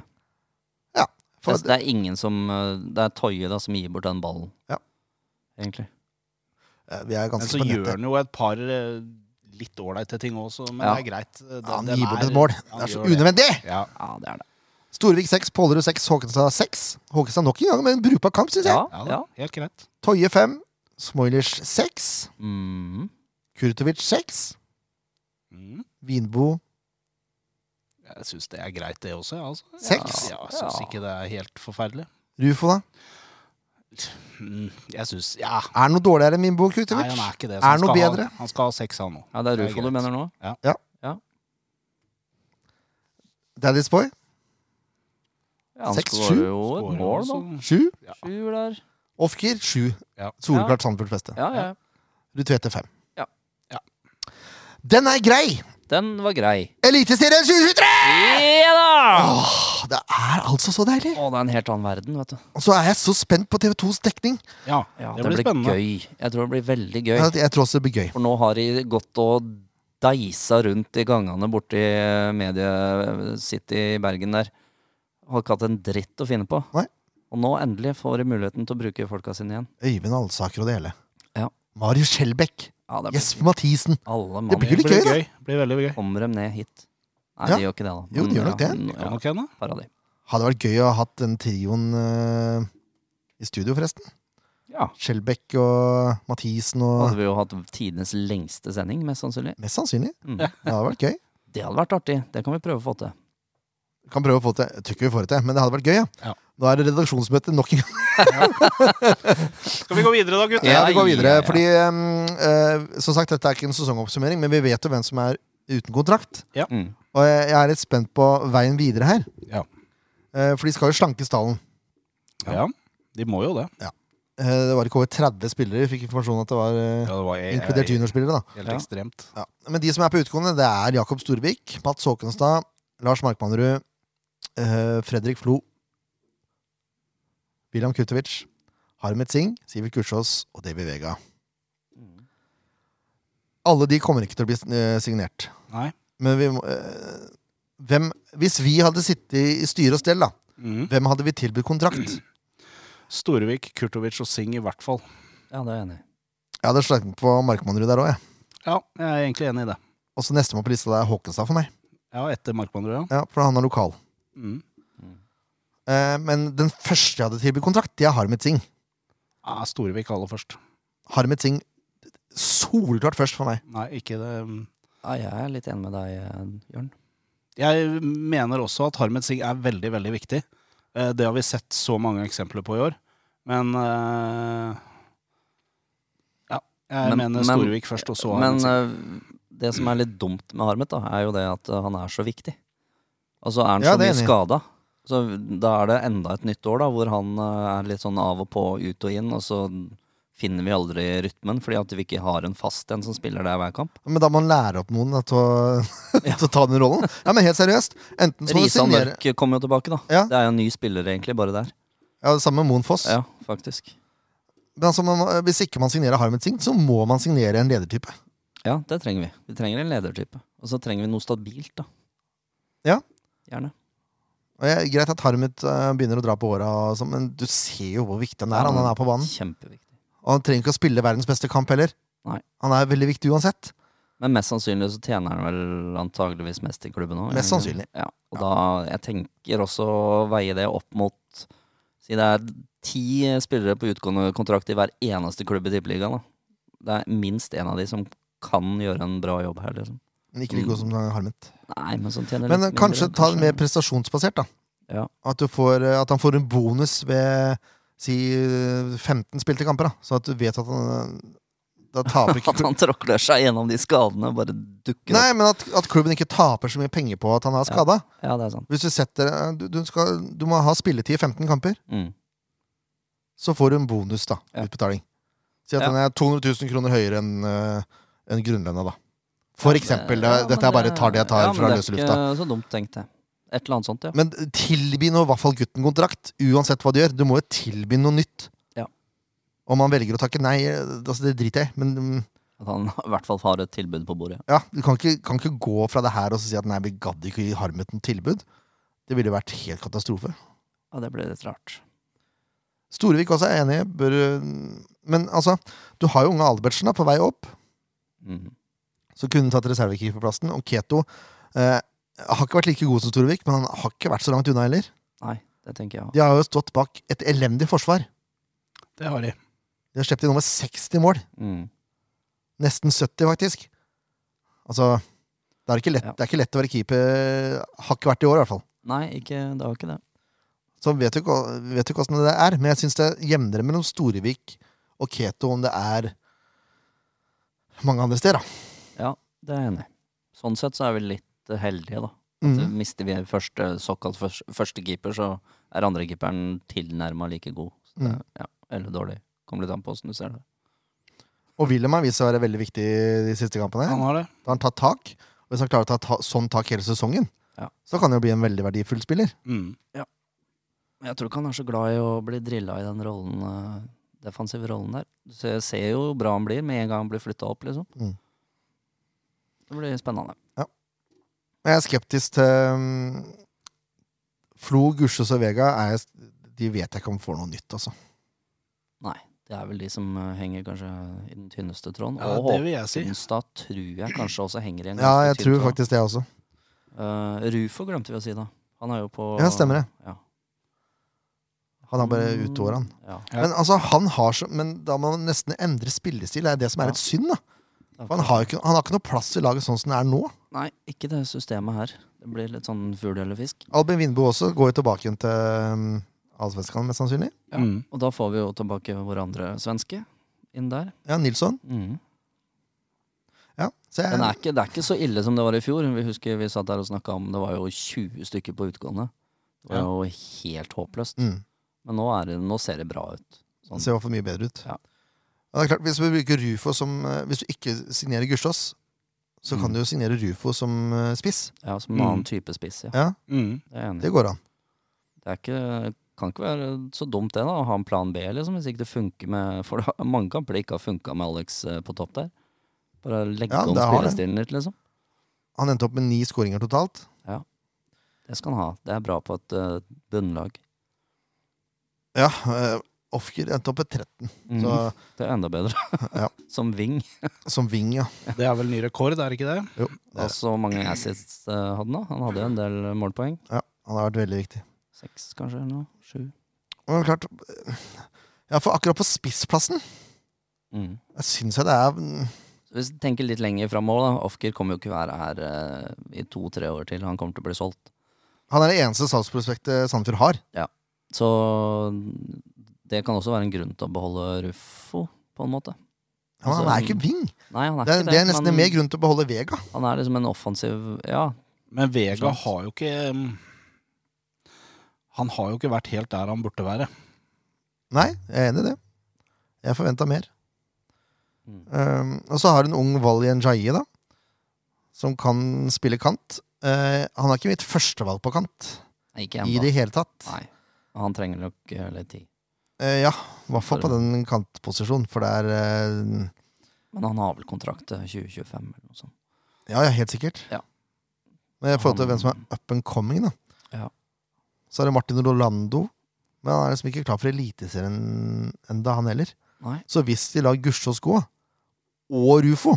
[SPEAKER 3] jeg.
[SPEAKER 2] For-
[SPEAKER 3] det er ingen som eh, Det er Toye da som gir bort den ballen.
[SPEAKER 2] Ja.
[SPEAKER 3] Egentlig.
[SPEAKER 2] Eh, vi er
[SPEAKER 4] Men
[SPEAKER 2] ganske
[SPEAKER 4] så
[SPEAKER 2] på
[SPEAKER 4] gjør
[SPEAKER 2] nettet.
[SPEAKER 4] han jo et par eh, litt ålreite ting også, men
[SPEAKER 3] Ja.
[SPEAKER 4] det er greit. Det-
[SPEAKER 2] Han
[SPEAKER 4] den
[SPEAKER 2] gir bort
[SPEAKER 4] er-
[SPEAKER 2] et mål.
[SPEAKER 4] han
[SPEAKER 2] Det er så
[SPEAKER 4] gjør det.
[SPEAKER 2] unødvendig!
[SPEAKER 4] Ja.
[SPEAKER 3] Ja, det er det.
[SPEAKER 2] Storevik 6, Pålerud 6, Håkenstad 6. Håkenstad nok en gang, men brukbar kamp, syns jeg.
[SPEAKER 3] Ja,
[SPEAKER 4] Ja, da.
[SPEAKER 3] ja.
[SPEAKER 4] Helt greit.
[SPEAKER 2] Toje 5, Smoilers 6,
[SPEAKER 3] Mm.
[SPEAKER 2] Kurtovic 6,
[SPEAKER 4] Mm.
[SPEAKER 2] Vinbo
[SPEAKER 4] Jeg syns det er greit, det også. Ja, altså.
[SPEAKER 2] Seks?
[SPEAKER 4] Ja, jeg syns
[SPEAKER 3] Ja.
[SPEAKER 4] ikke det er helt forferdelig.
[SPEAKER 2] Rufo, da?
[SPEAKER 4] Mm, Jeg syns Ja.
[SPEAKER 2] Er det noe dårligere enn Vinbo og
[SPEAKER 4] Nei,
[SPEAKER 2] Kurtovic?
[SPEAKER 4] han er ikke det.
[SPEAKER 2] Er
[SPEAKER 4] så han
[SPEAKER 2] det noe
[SPEAKER 4] skal ha-
[SPEAKER 2] bedre?
[SPEAKER 4] Han skal ha seks, han nå.
[SPEAKER 3] ja, det er Rufo du
[SPEAKER 4] greit.
[SPEAKER 3] mener nå?
[SPEAKER 2] Daddy's Boy?
[SPEAKER 3] Ja, han
[SPEAKER 2] Seks,
[SPEAKER 3] skårer
[SPEAKER 2] sju.
[SPEAKER 3] jo et
[SPEAKER 4] Skårer
[SPEAKER 3] mål, da.
[SPEAKER 4] også.
[SPEAKER 2] Sju?
[SPEAKER 3] Sju der.
[SPEAKER 2] Ofker sju.
[SPEAKER 4] Ja.
[SPEAKER 2] Soleklart Sandefjords beste.
[SPEAKER 3] Ja, ja.
[SPEAKER 2] Du tvete fem.
[SPEAKER 3] Ja.
[SPEAKER 4] Ja.
[SPEAKER 2] Den er grei!
[SPEAKER 3] Den var grei.
[SPEAKER 2] Eliteserien 2023!
[SPEAKER 3] Ja da!
[SPEAKER 2] Åh, det er altså så deilig!
[SPEAKER 3] Å, det er en helt annen verden, vet du.
[SPEAKER 2] Og så er jeg så spent på TV2s dekning.
[SPEAKER 4] Ja,
[SPEAKER 3] Ja,
[SPEAKER 4] det, blir spennende.
[SPEAKER 3] gøy. Jeg tror det blir veldig gøy.
[SPEAKER 2] Jeg tror også det blir gøy.
[SPEAKER 3] For nå har de gått og deisa rundt i gangene borti Medie City i Bergen der. Har ikke hatt en dritt å finne på.
[SPEAKER 2] Nei.
[SPEAKER 3] Og nå endelig får de muligheten til å bruke folka sine igjen.
[SPEAKER 2] Øyvind Alsaker og det hele.
[SPEAKER 3] Ja.
[SPEAKER 2] Marius Skjelbæk.
[SPEAKER 3] Ja, det blir
[SPEAKER 2] Jesper Mathisen.
[SPEAKER 3] Alle
[SPEAKER 2] Det blir
[SPEAKER 3] mann
[SPEAKER 2] litt gøy, da.
[SPEAKER 4] Blir veldig gøy.
[SPEAKER 3] kommer dem ned hit. Nei,
[SPEAKER 2] Ja.
[SPEAKER 3] de gjør ikke det, da.
[SPEAKER 2] Jo, de gjør nok det.
[SPEAKER 3] Men,
[SPEAKER 4] Kan
[SPEAKER 3] Ja,
[SPEAKER 4] nok hende.
[SPEAKER 3] paradis.
[SPEAKER 2] Hadde vært gøy å ha hatt den trioen eh, i studio, forresten.
[SPEAKER 3] Ja.
[SPEAKER 2] Skjelbæk og Mathisen og
[SPEAKER 3] Hadde vi jo hatt tidenes lengste sending, mest sannsynlig.
[SPEAKER 2] Mest sannsynlig.
[SPEAKER 3] Mm.
[SPEAKER 2] Det hadde vært gøy.
[SPEAKER 3] Det hadde vært artig. Det kan vi prøve å få til.
[SPEAKER 2] Kan prøve å få til. Jeg tror ikke vi får det til, men det hadde vært gøy. Ja.
[SPEAKER 4] Ja.
[SPEAKER 2] Nå er det redaksjonsmøte nok en gang.
[SPEAKER 4] Skal vi gå videre da, gutter?
[SPEAKER 2] Ja, vi går videre.
[SPEAKER 3] ja, ja.
[SPEAKER 2] Fordi, um, eh, som sagt, dette er ikke en sesongoppsummering, men vi vet jo hvem som er uten kontrakt.
[SPEAKER 3] Mm.
[SPEAKER 2] Og jeg, jeg er litt spent på veien videre her.
[SPEAKER 4] Ja.
[SPEAKER 2] Eh, for de skal jo slanke stallen.
[SPEAKER 4] Ja, de må jo det.
[SPEAKER 2] Eh, det var ikke over 30 spillere. Vi fikk informasjon om at det var eh,
[SPEAKER 4] Ja, det var eh,
[SPEAKER 2] inkludert juniorspillere, da.
[SPEAKER 4] Helt
[SPEAKER 3] Ja.
[SPEAKER 4] ekstremt.
[SPEAKER 2] Ja. Men de som er på utgående, det er Jakob Storbikk, Mats Håkenstad, Lars Markmannerud, eh, Fredrik Flo, William Kutovic, Harmet Singh, Sivert Kursås og Davy Vega. Alle de kommer ikke til å bli eh, signert.
[SPEAKER 4] Nei.
[SPEAKER 2] Men vi må eh, hvem, Hvis vi hadde sittet i styre og stell, da,
[SPEAKER 4] Mm.
[SPEAKER 2] hvem hadde vi tilbudt kontrakt?
[SPEAKER 4] Storevik, Kurtovic og Singh i hvert fall.
[SPEAKER 3] Ja, det er jeg enig i.
[SPEAKER 2] Jeg hadde slått meg på Markmannerud der òg, jeg.
[SPEAKER 4] Ja, jeg er egentlig enig i det.
[SPEAKER 2] Og så nestemann på lista det er Håkenstad for meg.
[SPEAKER 4] Ja, etter Markmannerud, ja.
[SPEAKER 2] Ja, for han er lokal.
[SPEAKER 4] Mm.
[SPEAKER 2] Eh, men den første jeg hadde tilbudt kontrakt, det er Harmet Singh.
[SPEAKER 4] Ja, Storevik aller først.
[SPEAKER 2] Harmet Singh solklart først for meg.
[SPEAKER 4] Nei, ikke det. mm.
[SPEAKER 3] Ja, jeg er litt enig med deg, eh, Jørn.
[SPEAKER 4] Jeg mener også at Harmet Singh er veldig, veldig viktig. Eh, Det har vi sett så mange eksempler på i år. Men eh, Ja, jeg
[SPEAKER 3] Men-
[SPEAKER 4] mener
[SPEAKER 3] men-
[SPEAKER 4] Storevik først, og så
[SPEAKER 3] Men
[SPEAKER 4] Harmet Singh.
[SPEAKER 3] eh, det som er litt dumt med Harmet, da, er jo det at eh, han er så viktig. Og så er han
[SPEAKER 2] Ja,
[SPEAKER 3] så
[SPEAKER 2] det er
[SPEAKER 3] mye
[SPEAKER 2] enig.
[SPEAKER 3] skada. Så da er det enda et nytt år da, hvor han eh, er litt sånn av og på, ut og inn, og så finner vi aldri rytmen, fordi at vi ikke har en fast en som spiller der hver kamp.
[SPEAKER 2] Men da må han lære opp noen da, til, å, til å ta den rollen. Ja, men helt seriøst. Enten så må du
[SPEAKER 3] Risan
[SPEAKER 2] signere
[SPEAKER 3] Mørk kom jo tilbake, da.
[SPEAKER 2] Ja.
[SPEAKER 3] Det er jo en ny spiller, egentlig, bare der.
[SPEAKER 2] Ja, det samme med Moen Foss.
[SPEAKER 3] Ja, faktisk.
[SPEAKER 2] Men altså, man, må- hvis ikke man signerer Harmet Singh, så må man signere en ledertype.
[SPEAKER 3] Ja, det trenger vi. Vi trenger en ledertype. Og så trenger vi noe stabilt, da.
[SPEAKER 2] Ja.
[SPEAKER 3] Gjerne.
[SPEAKER 2] Og jeg, Greit at Harmet eh, begynner å dra på åra, og sånn, men du ser jo hvor viktig han er. Han, han er på banen.
[SPEAKER 3] Kjempeviktig.
[SPEAKER 2] Og han trenger ikke å spille verdens beste kamp heller.
[SPEAKER 3] Nei.
[SPEAKER 2] Han er veldig viktig uansett.
[SPEAKER 3] Men mest sannsynlig så tjener han vel antageligvis mest i klubben òg.
[SPEAKER 2] Mest sannsynlig.
[SPEAKER 3] Ja, og da, jeg tenker også å veie det opp mot Si det er ti spillere på utgående kontrakt i hver eneste klubb i Tippeligaen. da. Det er minst én av de som kan gjøre en bra jobb her, liksom.
[SPEAKER 2] Men ikke like god som Harmet.
[SPEAKER 3] Nei, men som tjener
[SPEAKER 2] Men
[SPEAKER 3] litt
[SPEAKER 2] eh, kanskje
[SPEAKER 3] mindre,
[SPEAKER 2] ta det mer prestasjonsbasert, da.
[SPEAKER 3] Ja.
[SPEAKER 2] At, du får, eh, at han får en bonus ved si eh, 15 spilte kamper, da. Så at du vet at han eh, Da taper ikke
[SPEAKER 3] At han tråkler seg gjennom de skadene og bare dukker
[SPEAKER 2] Nei,
[SPEAKER 3] opp.
[SPEAKER 2] men at, at klubben ikke taper så mye penger på at han er skada.
[SPEAKER 3] Ja, det er sant.
[SPEAKER 2] Hvis du setter eh, du, du, skal, du må ha spilletid i 15 kamper,
[SPEAKER 3] Mm.
[SPEAKER 2] så får du en bonus, da.
[SPEAKER 3] Ja.
[SPEAKER 2] Utbetaling. Si at
[SPEAKER 3] Ja.
[SPEAKER 2] den er 200 000 kroner høyere enn eh, enn grunnlønna, da. For eksempel.
[SPEAKER 3] Ja,
[SPEAKER 2] eh,
[SPEAKER 3] men
[SPEAKER 2] dette er bare
[SPEAKER 3] det-
[SPEAKER 2] tar det jeg tar
[SPEAKER 3] ja, men
[SPEAKER 2] fra
[SPEAKER 3] det er
[SPEAKER 2] løse lufta.
[SPEAKER 3] ikke Så dumt tenkt, det. Et eller annet sånt, ja.
[SPEAKER 2] Men tilby nå i hvert fall gutten kontrakt, uansett hva du gjør. Du må jo tilby noe nytt.
[SPEAKER 3] Ja.
[SPEAKER 2] Om han velger å takke nei, altså det driter jeg i, men mm,
[SPEAKER 3] At han i hvert fall har et tilbud på bordet.
[SPEAKER 2] ja, du kan ikke, kan ikke gå fra det her og så si at nei, vi gadd ikke å gi Harmet noe tilbud. Det ville jo vært helt katastrofe.
[SPEAKER 3] Ja, det ble litt rart.
[SPEAKER 2] Storevik også er enig, bør mm, Men altså, du har jo unge Albertsen da, på vei opp,
[SPEAKER 3] Mhm.
[SPEAKER 2] så kunne du tatt reservekeeperplassen. Og Keto eh, har ikke vært like god som Storevik, men han har ikke vært så langt unna heller.
[SPEAKER 3] Nei, det tenker jeg òg.
[SPEAKER 2] De har jo stått bak et elendig forsvar.
[SPEAKER 4] Det har de.
[SPEAKER 2] De har sluppet inn over 60 mål.
[SPEAKER 3] Mm.
[SPEAKER 2] Nesten 70, faktisk. Altså Det er ikke lett,
[SPEAKER 3] Ja.
[SPEAKER 2] det er ikke lett å være keeper. Har ikke vært i år, i hvert fall.
[SPEAKER 3] Nei, ikke, det var ikke det.
[SPEAKER 2] Så vet du, ikke- vet du ikke åssen det er. Men jeg syns det er jevnere mellom Storevik og Keto om det er mange andre steder, da.
[SPEAKER 3] Ja, det er jeg enig i. Sånn sett så er vi litt eh, heldige, da.
[SPEAKER 4] Mhm.
[SPEAKER 3] Så
[SPEAKER 2] Mm.
[SPEAKER 3] mister vi første, såkalt først- første keeper, så er andrekeeperen tilnærma like god. Så det,
[SPEAKER 4] Mhm.
[SPEAKER 2] Mm.
[SPEAKER 3] ja, eller dårlig. Kommer litt an på åssen du ser det.
[SPEAKER 2] Og Wilhelm har vist seg å være veldig viktig de siste kampene.
[SPEAKER 4] Han har det.
[SPEAKER 2] Da har han tatt tak. Og hvis han klarer å ta ta sånn tak hele sesongen,
[SPEAKER 3] Ja.
[SPEAKER 2] så kan han jo bli en veldig verdifull spiller.
[SPEAKER 4] Mm.
[SPEAKER 3] Men Jeg tror ikke han er så glad i å bli drilla i den rollen, eh, defensive rollen der. Du ser, ser jo hvor bra han blir med en gang han blir flytta opp, liksom.
[SPEAKER 4] Mhm.
[SPEAKER 2] Mm.
[SPEAKER 3] Det blir spennende.
[SPEAKER 2] Men jeg er skeptisk til um, Flo, Gusjøs og Vega. Er jeg, de vet jeg ikke om får noe nytt, altså.
[SPEAKER 3] Nei, Det er vel de som eh, henger kanskje i den tynneste tråden.
[SPEAKER 4] Ja,
[SPEAKER 3] og
[SPEAKER 4] det vil jeg si.
[SPEAKER 3] Håkonstad tror jeg kanskje også henger i en
[SPEAKER 2] Ja,
[SPEAKER 3] ganske
[SPEAKER 2] jeg
[SPEAKER 3] tynn
[SPEAKER 2] tror
[SPEAKER 3] tråd.
[SPEAKER 2] faktisk det også.
[SPEAKER 3] Eh, Rufo glemte vi å si, da. Han er jo på
[SPEAKER 2] Ja, stemmer det.
[SPEAKER 3] Ja.
[SPEAKER 2] Han er bare ut to år, han.
[SPEAKER 3] Ja.
[SPEAKER 4] Ja.
[SPEAKER 2] Men altså, han har så Men da må han nesten endre spillestil. Det er det som er
[SPEAKER 3] Ja.
[SPEAKER 2] et synd, da. For han har, jo ikke, han har ikke noe plass i laget sånn som det er nå.
[SPEAKER 3] Nei, ikke det systemet her. Det blir litt sånn fugl eller fisk.
[SPEAKER 2] Albin Vindbo også går jo tilbake igjen til um, Allsvenskan, mest sannsynlig.
[SPEAKER 3] Ja.
[SPEAKER 4] Mm.
[SPEAKER 3] Og da får vi jo tilbake våre andre svenske inn der.
[SPEAKER 2] Ja, Nilsson.
[SPEAKER 3] Mhm.
[SPEAKER 2] Ja, så jeg,
[SPEAKER 3] Den er ikke, det er ikke så ille som det var i fjor. Vi husker vi satt der og snakka om det var jo 20 stykker på utgående. Det var
[SPEAKER 4] Ja.
[SPEAKER 3] jo helt håpløst.
[SPEAKER 2] mm,
[SPEAKER 3] Men nå, er det, nå ser det bra ut.
[SPEAKER 2] den ser i hvert fall mye bedre ut.
[SPEAKER 3] sånn. Ja.
[SPEAKER 2] Ja, det er klart, hvis du bruker Rufo som eh, Hvis du ikke signerer Gustavs, så kan
[SPEAKER 3] Mm.
[SPEAKER 2] du jo signere Rufo som eh, spiss.
[SPEAKER 3] Ja, Som en
[SPEAKER 4] Mm.
[SPEAKER 3] annen type spiss. Ja.
[SPEAKER 2] Ja,
[SPEAKER 4] Mm.
[SPEAKER 3] Det er jeg enig i.
[SPEAKER 2] det går an.
[SPEAKER 3] Det er ikke, kan ikke være så dumt det, da. Å ha en plan B, liksom. Hvis ikke det funker med For det har- mange kamper det ikke har funka med Alex eh, på topp der. Bare legge
[SPEAKER 2] Ja,
[SPEAKER 3] om
[SPEAKER 2] det har det.
[SPEAKER 3] spillestilen litt, liksom.
[SPEAKER 2] Han endte opp med ni skåringer totalt.
[SPEAKER 3] Det skal han ha. Det er bra på et eh, bunnlag.
[SPEAKER 2] Ja, uh, Ofker endte opp med 13.
[SPEAKER 3] Mm.
[SPEAKER 2] Så,
[SPEAKER 3] Det er enda bedre.
[SPEAKER 2] Ja.
[SPEAKER 3] Som wing.
[SPEAKER 2] som wing, ja.
[SPEAKER 4] Det er vel ny rekord, er det ikke det?
[SPEAKER 2] Jo, det,
[SPEAKER 3] Og så Altså, mange assists eh, hadde han da. Han hadde jo en del målpoeng.
[SPEAKER 2] ja. Han har vært veldig viktig.
[SPEAKER 3] Seks, kanskje, eller noe. Sju.
[SPEAKER 2] Og det er klart Ja, for akkurat på spissplassen
[SPEAKER 3] Mm.
[SPEAKER 2] Jeg syns jeg det er
[SPEAKER 3] Så Hvis du tenker litt lenger framover, da. Ofker kommer jo ikke være her eh, i to-tre år til. Han kommer til å bli solgt.
[SPEAKER 2] Han er det eneste salgsprospektet Sandefjord har.
[SPEAKER 3] Så det kan også være en grunn til å beholde Ruffo, på en måte.
[SPEAKER 2] Han, han er ikke wing.
[SPEAKER 3] Nei, han Altså, er
[SPEAKER 2] Det er,
[SPEAKER 3] ikke
[SPEAKER 2] det er nesten
[SPEAKER 3] men
[SPEAKER 2] mer grunn til å beholde Vega.
[SPEAKER 3] Han er liksom en offensiv Ja,
[SPEAKER 4] Men Vega
[SPEAKER 3] Sant.
[SPEAKER 4] har jo ikke mm, Han har jo ikke vært helt der han burde være.
[SPEAKER 2] Nei, jeg er enig i det. Jeg forventa mer.
[SPEAKER 3] Mm.
[SPEAKER 2] Um, og så har du en ung Valien Jaye, da. Som kan spille kant. Eh, han er ikke mitt førstevalg på kant
[SPEAKER 3] ikke
[SPEAKER 2] i
[SPEAKER 3] ennå.
[SPEAKER 2] det hele tatt.
[SPEAKER 3] Nei. Han trenger nok eh, litt tid.
[SPEAKER 2] Eh, ja, i hvert fall på den kantposisjonen, for det er eh,
[SPEAKER 3] Men han har vel kontrakt til 2025 eller noe sånt.
[SPEAKER 2] Ja, ja, helt sikkert.
[SPEAKER 3] Ja.
[SPEAKER 2] Men i forhold til
[SPEAKER 3] Han-
[SPEAKER 2] hvem som er up and coming, da.
[SPEAKER 3] Ja.
[SPEAKER 2] Så er det Martin Rolando. Men han er liksom ikke klar for Eliteserien enda, han heller.
[SPEAKER 3] Nei,
[SPEAKER 2] Så hvis de lar Gussiås gå, og Rufo,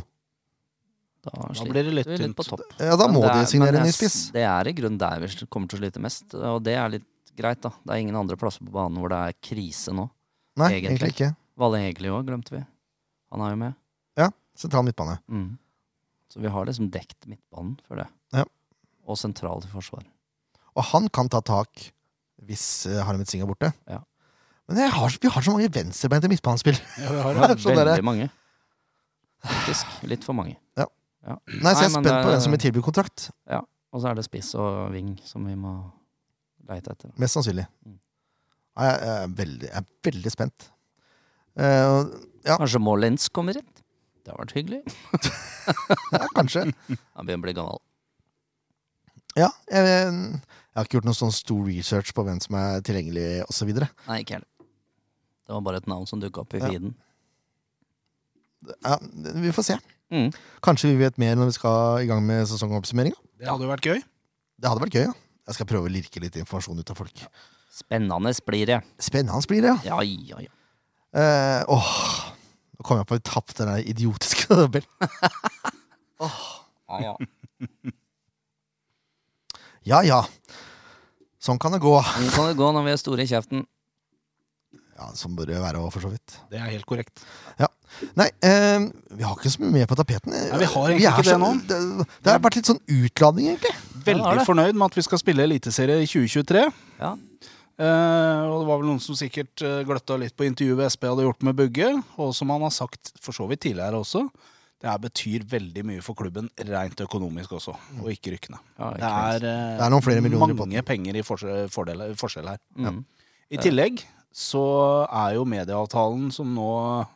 [SPEAKER 3] da
[SPEAKER 4] Da
[SPEAKER 3] sliter
[SPEAKER 4] blir det litt
[SPEAKER 3] vi litt på
[SPEAKER 4] tynt.
[SPEAKER 3] topp.
[SPEAKER 2] ja, da
[SPEAKER 3] Men
[SPEAKER 2] må
[SPEAKER 3] det er-
[SPEAKER 2] de signere
[SPEAKER 3] men
[SPEAKER 2] en ny
[SPEAKER 3] jeg-
[SPEAKER 2] spiss.
[SPEAKER 3] Det er i grunnen der vi sl- kommer til å slite mest, og det er litt greit, da. Det er ingen andre plasser på banen hvor det er krise nå.
[SPEAKER 2] Nei,
[SPEAKER 3] egentlig.
[SPEAKER 2] egentlig ikke.
[SPEAKER 3] Valle Egeli òg, glemte vi. Han er jo med.
[SPEAKER 2] Sentral midtbane.
[SPEAKER 3] Mm. Så vi har liksom dekt midtbanen for det.
[SPEAKER 2] Ja.
[SPEAKER 3] Og sentral til forsvar.
[SPEAKER 2] Og han kan ta tak hvis eh, Harmet Singh er borte.
[SPEAKER 3] Ja.
[SPEAKER 2] Men jeg har, vi har så mange venstrebeinte midtbanespillere.
[SPEAKER 4] Ja, vi har
[SPEAKER 3] Det
[SPEAKER 2] Ja,
[SPEAKER 4] det.
[SPEAKER 3] var
[SPEAKER 2] sånn er
[SPEAKER 3] veldig
[SPEAKER 2] det.
[SPEAKER 3] mange. Faktisk. Litt for mange.
[SPEAKER 2] Nei, så jeg er
[SPEAKER 3] Nei, men
[SPEAKER 2] spent på
[SPEAKER 3] det-
[SPEAKER 2] hvem som vil tilby kontrakt.
[SPEAKER 3] Og så er det spiss og ving som vi må leite etter.
[SPEAKER 2] Mest sannsynlig.
[SPEAKER 3] Mm.
[SPEAKER 2] Nei, Jeg er veldig, jeg er veldig spent. Eh, og- ja,
[SPEAKER 3] Kanskje Mollins kommer hit? Det har vært hyggelig.
[SPEAKER 2] ja, kanskje.
[SPEAKER 3] Han begynner å bli gammel.
[SPEAKER 2] Ja, jeg, jeg har ikke gjort noen sånn stor research på hvem som er tilgjengelig osv.
[SPEAKER 3] Nei, ikke heller. Det var bare et navn som dukka opp i
[SPEAKER 2] Ja.
[SPEAKER 3] feeden.
[SPEAKER 2] Ja, vi får se.
[SPEAKER 3] Mm.
[SPEAKER 2] Kanskje vi vet mer når vi skal i gang med sesongoppsummeringa.
[SPEAKER 4] Det hadde jo vært gøy.
[SPEAKER 2] Det hadde vært gøy, ja. Jeg skal prøve å lirke litt informasjon ut av folk.
[SPEAKER 3] Spennende blir det.
[SPEAKER 2] Spennende blir det, ja.
[SPEAKER 3] Ja, ja, ja.
[SPEAKER 2] Eh, åh, nå kom jeg på at vi tapte den der idiotiske tabellen.
[SPEAKER 3] ja, ja.
[SPEAKER 2] Ja ja. Sånn kan det gå.
[SPEAKER 3] Nå kan det gå når vi er store i kjeften.
[SPEAKER 2] Ja, Sånn bør det være òg, for så vidt.
[SPEAKER 4] Det er helt korrekt.
[SPEAKER 2] Nei, eh, vi har ikke så mye mer på tapeten.
[SPEAKER 4] Nei, vi har egentlig
[SPEAKER 2] er
[SPEAKER 4] ikke det
[SPEAKER 2] så-
[SPEAKER 4] nå.
[SPEAKER 2] Det, det har vært litt sånn utladning, egentlig.
[SPEAKER 4] Veldig
[SPEAKER 3] Ja, det er det.
[SPEAKER 4] fornøyd med at vi skal spille Eliteserie i 2023.
[SPEAKER 3] Ja.
[SPEAKER 4] Eh, og det var vel noen som sikkert eh, gløtta litt på intervjuet SP hadde gjort med Bugge. Og som han har sagt for så vidt tidligere også, det her betyr veldig mye for klubben rent økonomisk også, og ikke rykkene.
[SPEAKER 3] Ja, ikke
[SPEAKER 4] Det er, eh,
[SPEAKER 2] Det er noen flere millioner i
[SPEAKER 4] mange penger i forskjell, fordel, forskjell her.
[SPEAKER 3] Mm.
[SPEAKER 4] I tillegg så er jo medieavtalen som nå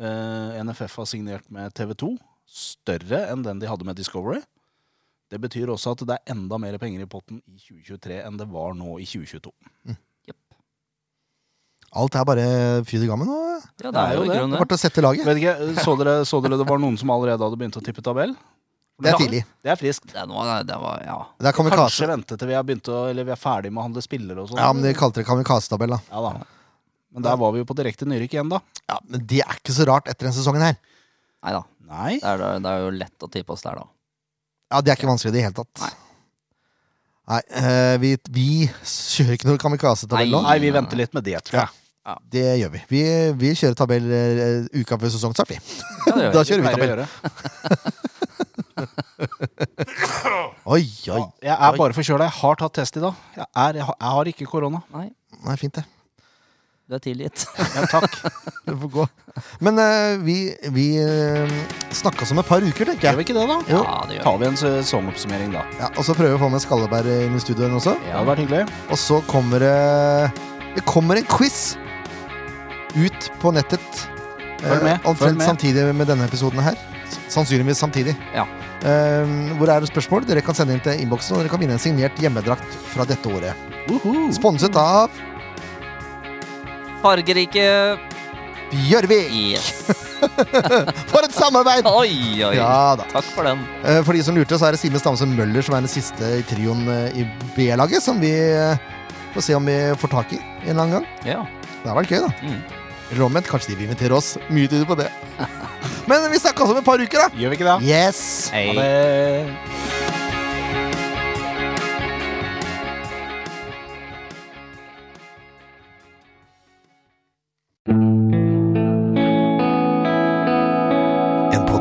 [SPEAKER 4] eh, NFF har signert med TV 2, større enn den de hadde med Discovery. Det betyr også at det er enda mer penger i potten i 2023 enn det var nå i 2022.
[SPEAKER 3] Jepp.
[SPEAKER 2] Alt er bare fryd og gammen nå.
[SPEAKER 3] Ja, det er jo i
[SPEAKER 4] det.
[SPEAKER 2] Det er
[SPEAKER 3] grunnen det.
[SPEAKER 2] bare å sette laget.
[SPEAKER 4] Vet ikke, så dere, så dere det var noen som allerede hadde begynt å tippe tabell?
[SPEAKER 2] Det er tidlig.
[SPEAKER 4] Det er friskt.
[SPEAKER 3] Det er noe- det var, ja.
[SPEAKER 2] Det er kamikaze.
[SPEAKER 4] Kanskje vente til vi er, begynt å, eller vi er ferdig med å handle spillere og sånn.
[SPEAKER 2] Ja, men de kalte det kamikaze-tabell, da.
[SPEAKER 4] Ja da. Men der var vi jo på direkte nyrykk igjen, da.
[SPEAKER 2] Ja, Men det er ikke så rart etter denne sesongen her.
[SPEAKER 3] Nei da.
[SPEAKER 4] Nei.
[SPEAKER 3] Det er, det er jo lett å tippe oss der, da.
[SPEAKER 2] Ja, Det er ikke vanskelig i det hele tatt. Nei, eh, vi, vi kjører ikke noe kamikaze-tabell nå.
[SPEAKER 4] Nei, vi venter litt med det, tror jeg.
[SPEAKER 2] Det gjør vi. Vi, vi kjører tabell eh, uka før sesongstart, vi.
[SPEAKER 3] Ja, det gjør
[SPEAKER 2] Da
[SPEAKER 3] vi.
[SPEAKER 2] kjører vi
[SPEAKER 4] Pleier å
[SPEAKER 2] tabell.
[SPEAKER 4] gjøre.
[SPEAKER 2] Oi, oi.
[SPEAKER 4] Jeg er bare forkjøla. Jeg har tatt test i dag. Jeg, er, jeg, har, jeg har ikke korona.
[SPEAKER 3] Nei,
[SPEAKER 2] Nei, fint, det.
[SPEAKER 3] du er tilgitt.
[SPEAKER 4] Ja, takk.
[SPEAKER 2] Det får gå. Men eh, vi, vi eh, snakkes om et par uker, tenker
[SPEAKER 4] Gjør
[SPEAKER 2] jeg.
[SPEAKER 4] vi ikke det, da?
[SPEAKER 2] Jo.
[SPEAKER 3] Ja, det gjør
[SPEAKER 4] Tar vi en sesongoppsummering da.
[SPEAKER 2] Ja, og så prøver vi å få med Skalleberg inn i studioen også.
[SPEAKER 4] Det hadde vært hyggelig.
[SPEAKER 2] Og så kommer det Det kommer en quiz ut på nettet.
[SPEAKER 4] Følg med,
[SPEAKER 2] eh, Omtrent
[SPEAKER 4] følg med.
[SPEAKER 2] samtidig med denne episoden her. S- Sannsynligvis samtidig.
[SPEAKER 3] Ja.
[SPEAKER 2] Eh, hvor er det spørsmål? Dere kan sende inn til innboksen, og dere kan vinne en signert hjemmedrakt fra dette året.
[SPEAKER 4] Uhu.
[SPEAKER 2] Sponset av
[SPEAKER 3] Fargerike.
[SPEAKER 2] Gjørvik!
[SPEAKER 3] Yes.
[SPEAKER 2] For et samarbeid!
[SPEAKER 3] Oi, oi.
[SPEAKER 2] Ja da.
[SPEAKER 3] Takk for den.
[SPEAKER 2] Eh, For de som lurte, så er det Simen Stamsen Møller som er den siste i trioen eh, i B-laget, som vi eh, får se om vi får tak i en eller annen gang.
[SPEAKER 3] Ja.
[SPEAKER 2] Det har vært gøy, da.
[SPEAKER 3] Mm.
[SPEAKER 2] Eller omvendt, kanskje de vil invitere oss. Mye tyder på det. Men vi snakkes om et par uker, da.
[SPEAKER 4] Gjør vi ikke det?
[SPEAKER 2] Yes!
[SPEAKER 3] Hei.
[SPEAKER 4] Ha det.
[SPEAKER 6] En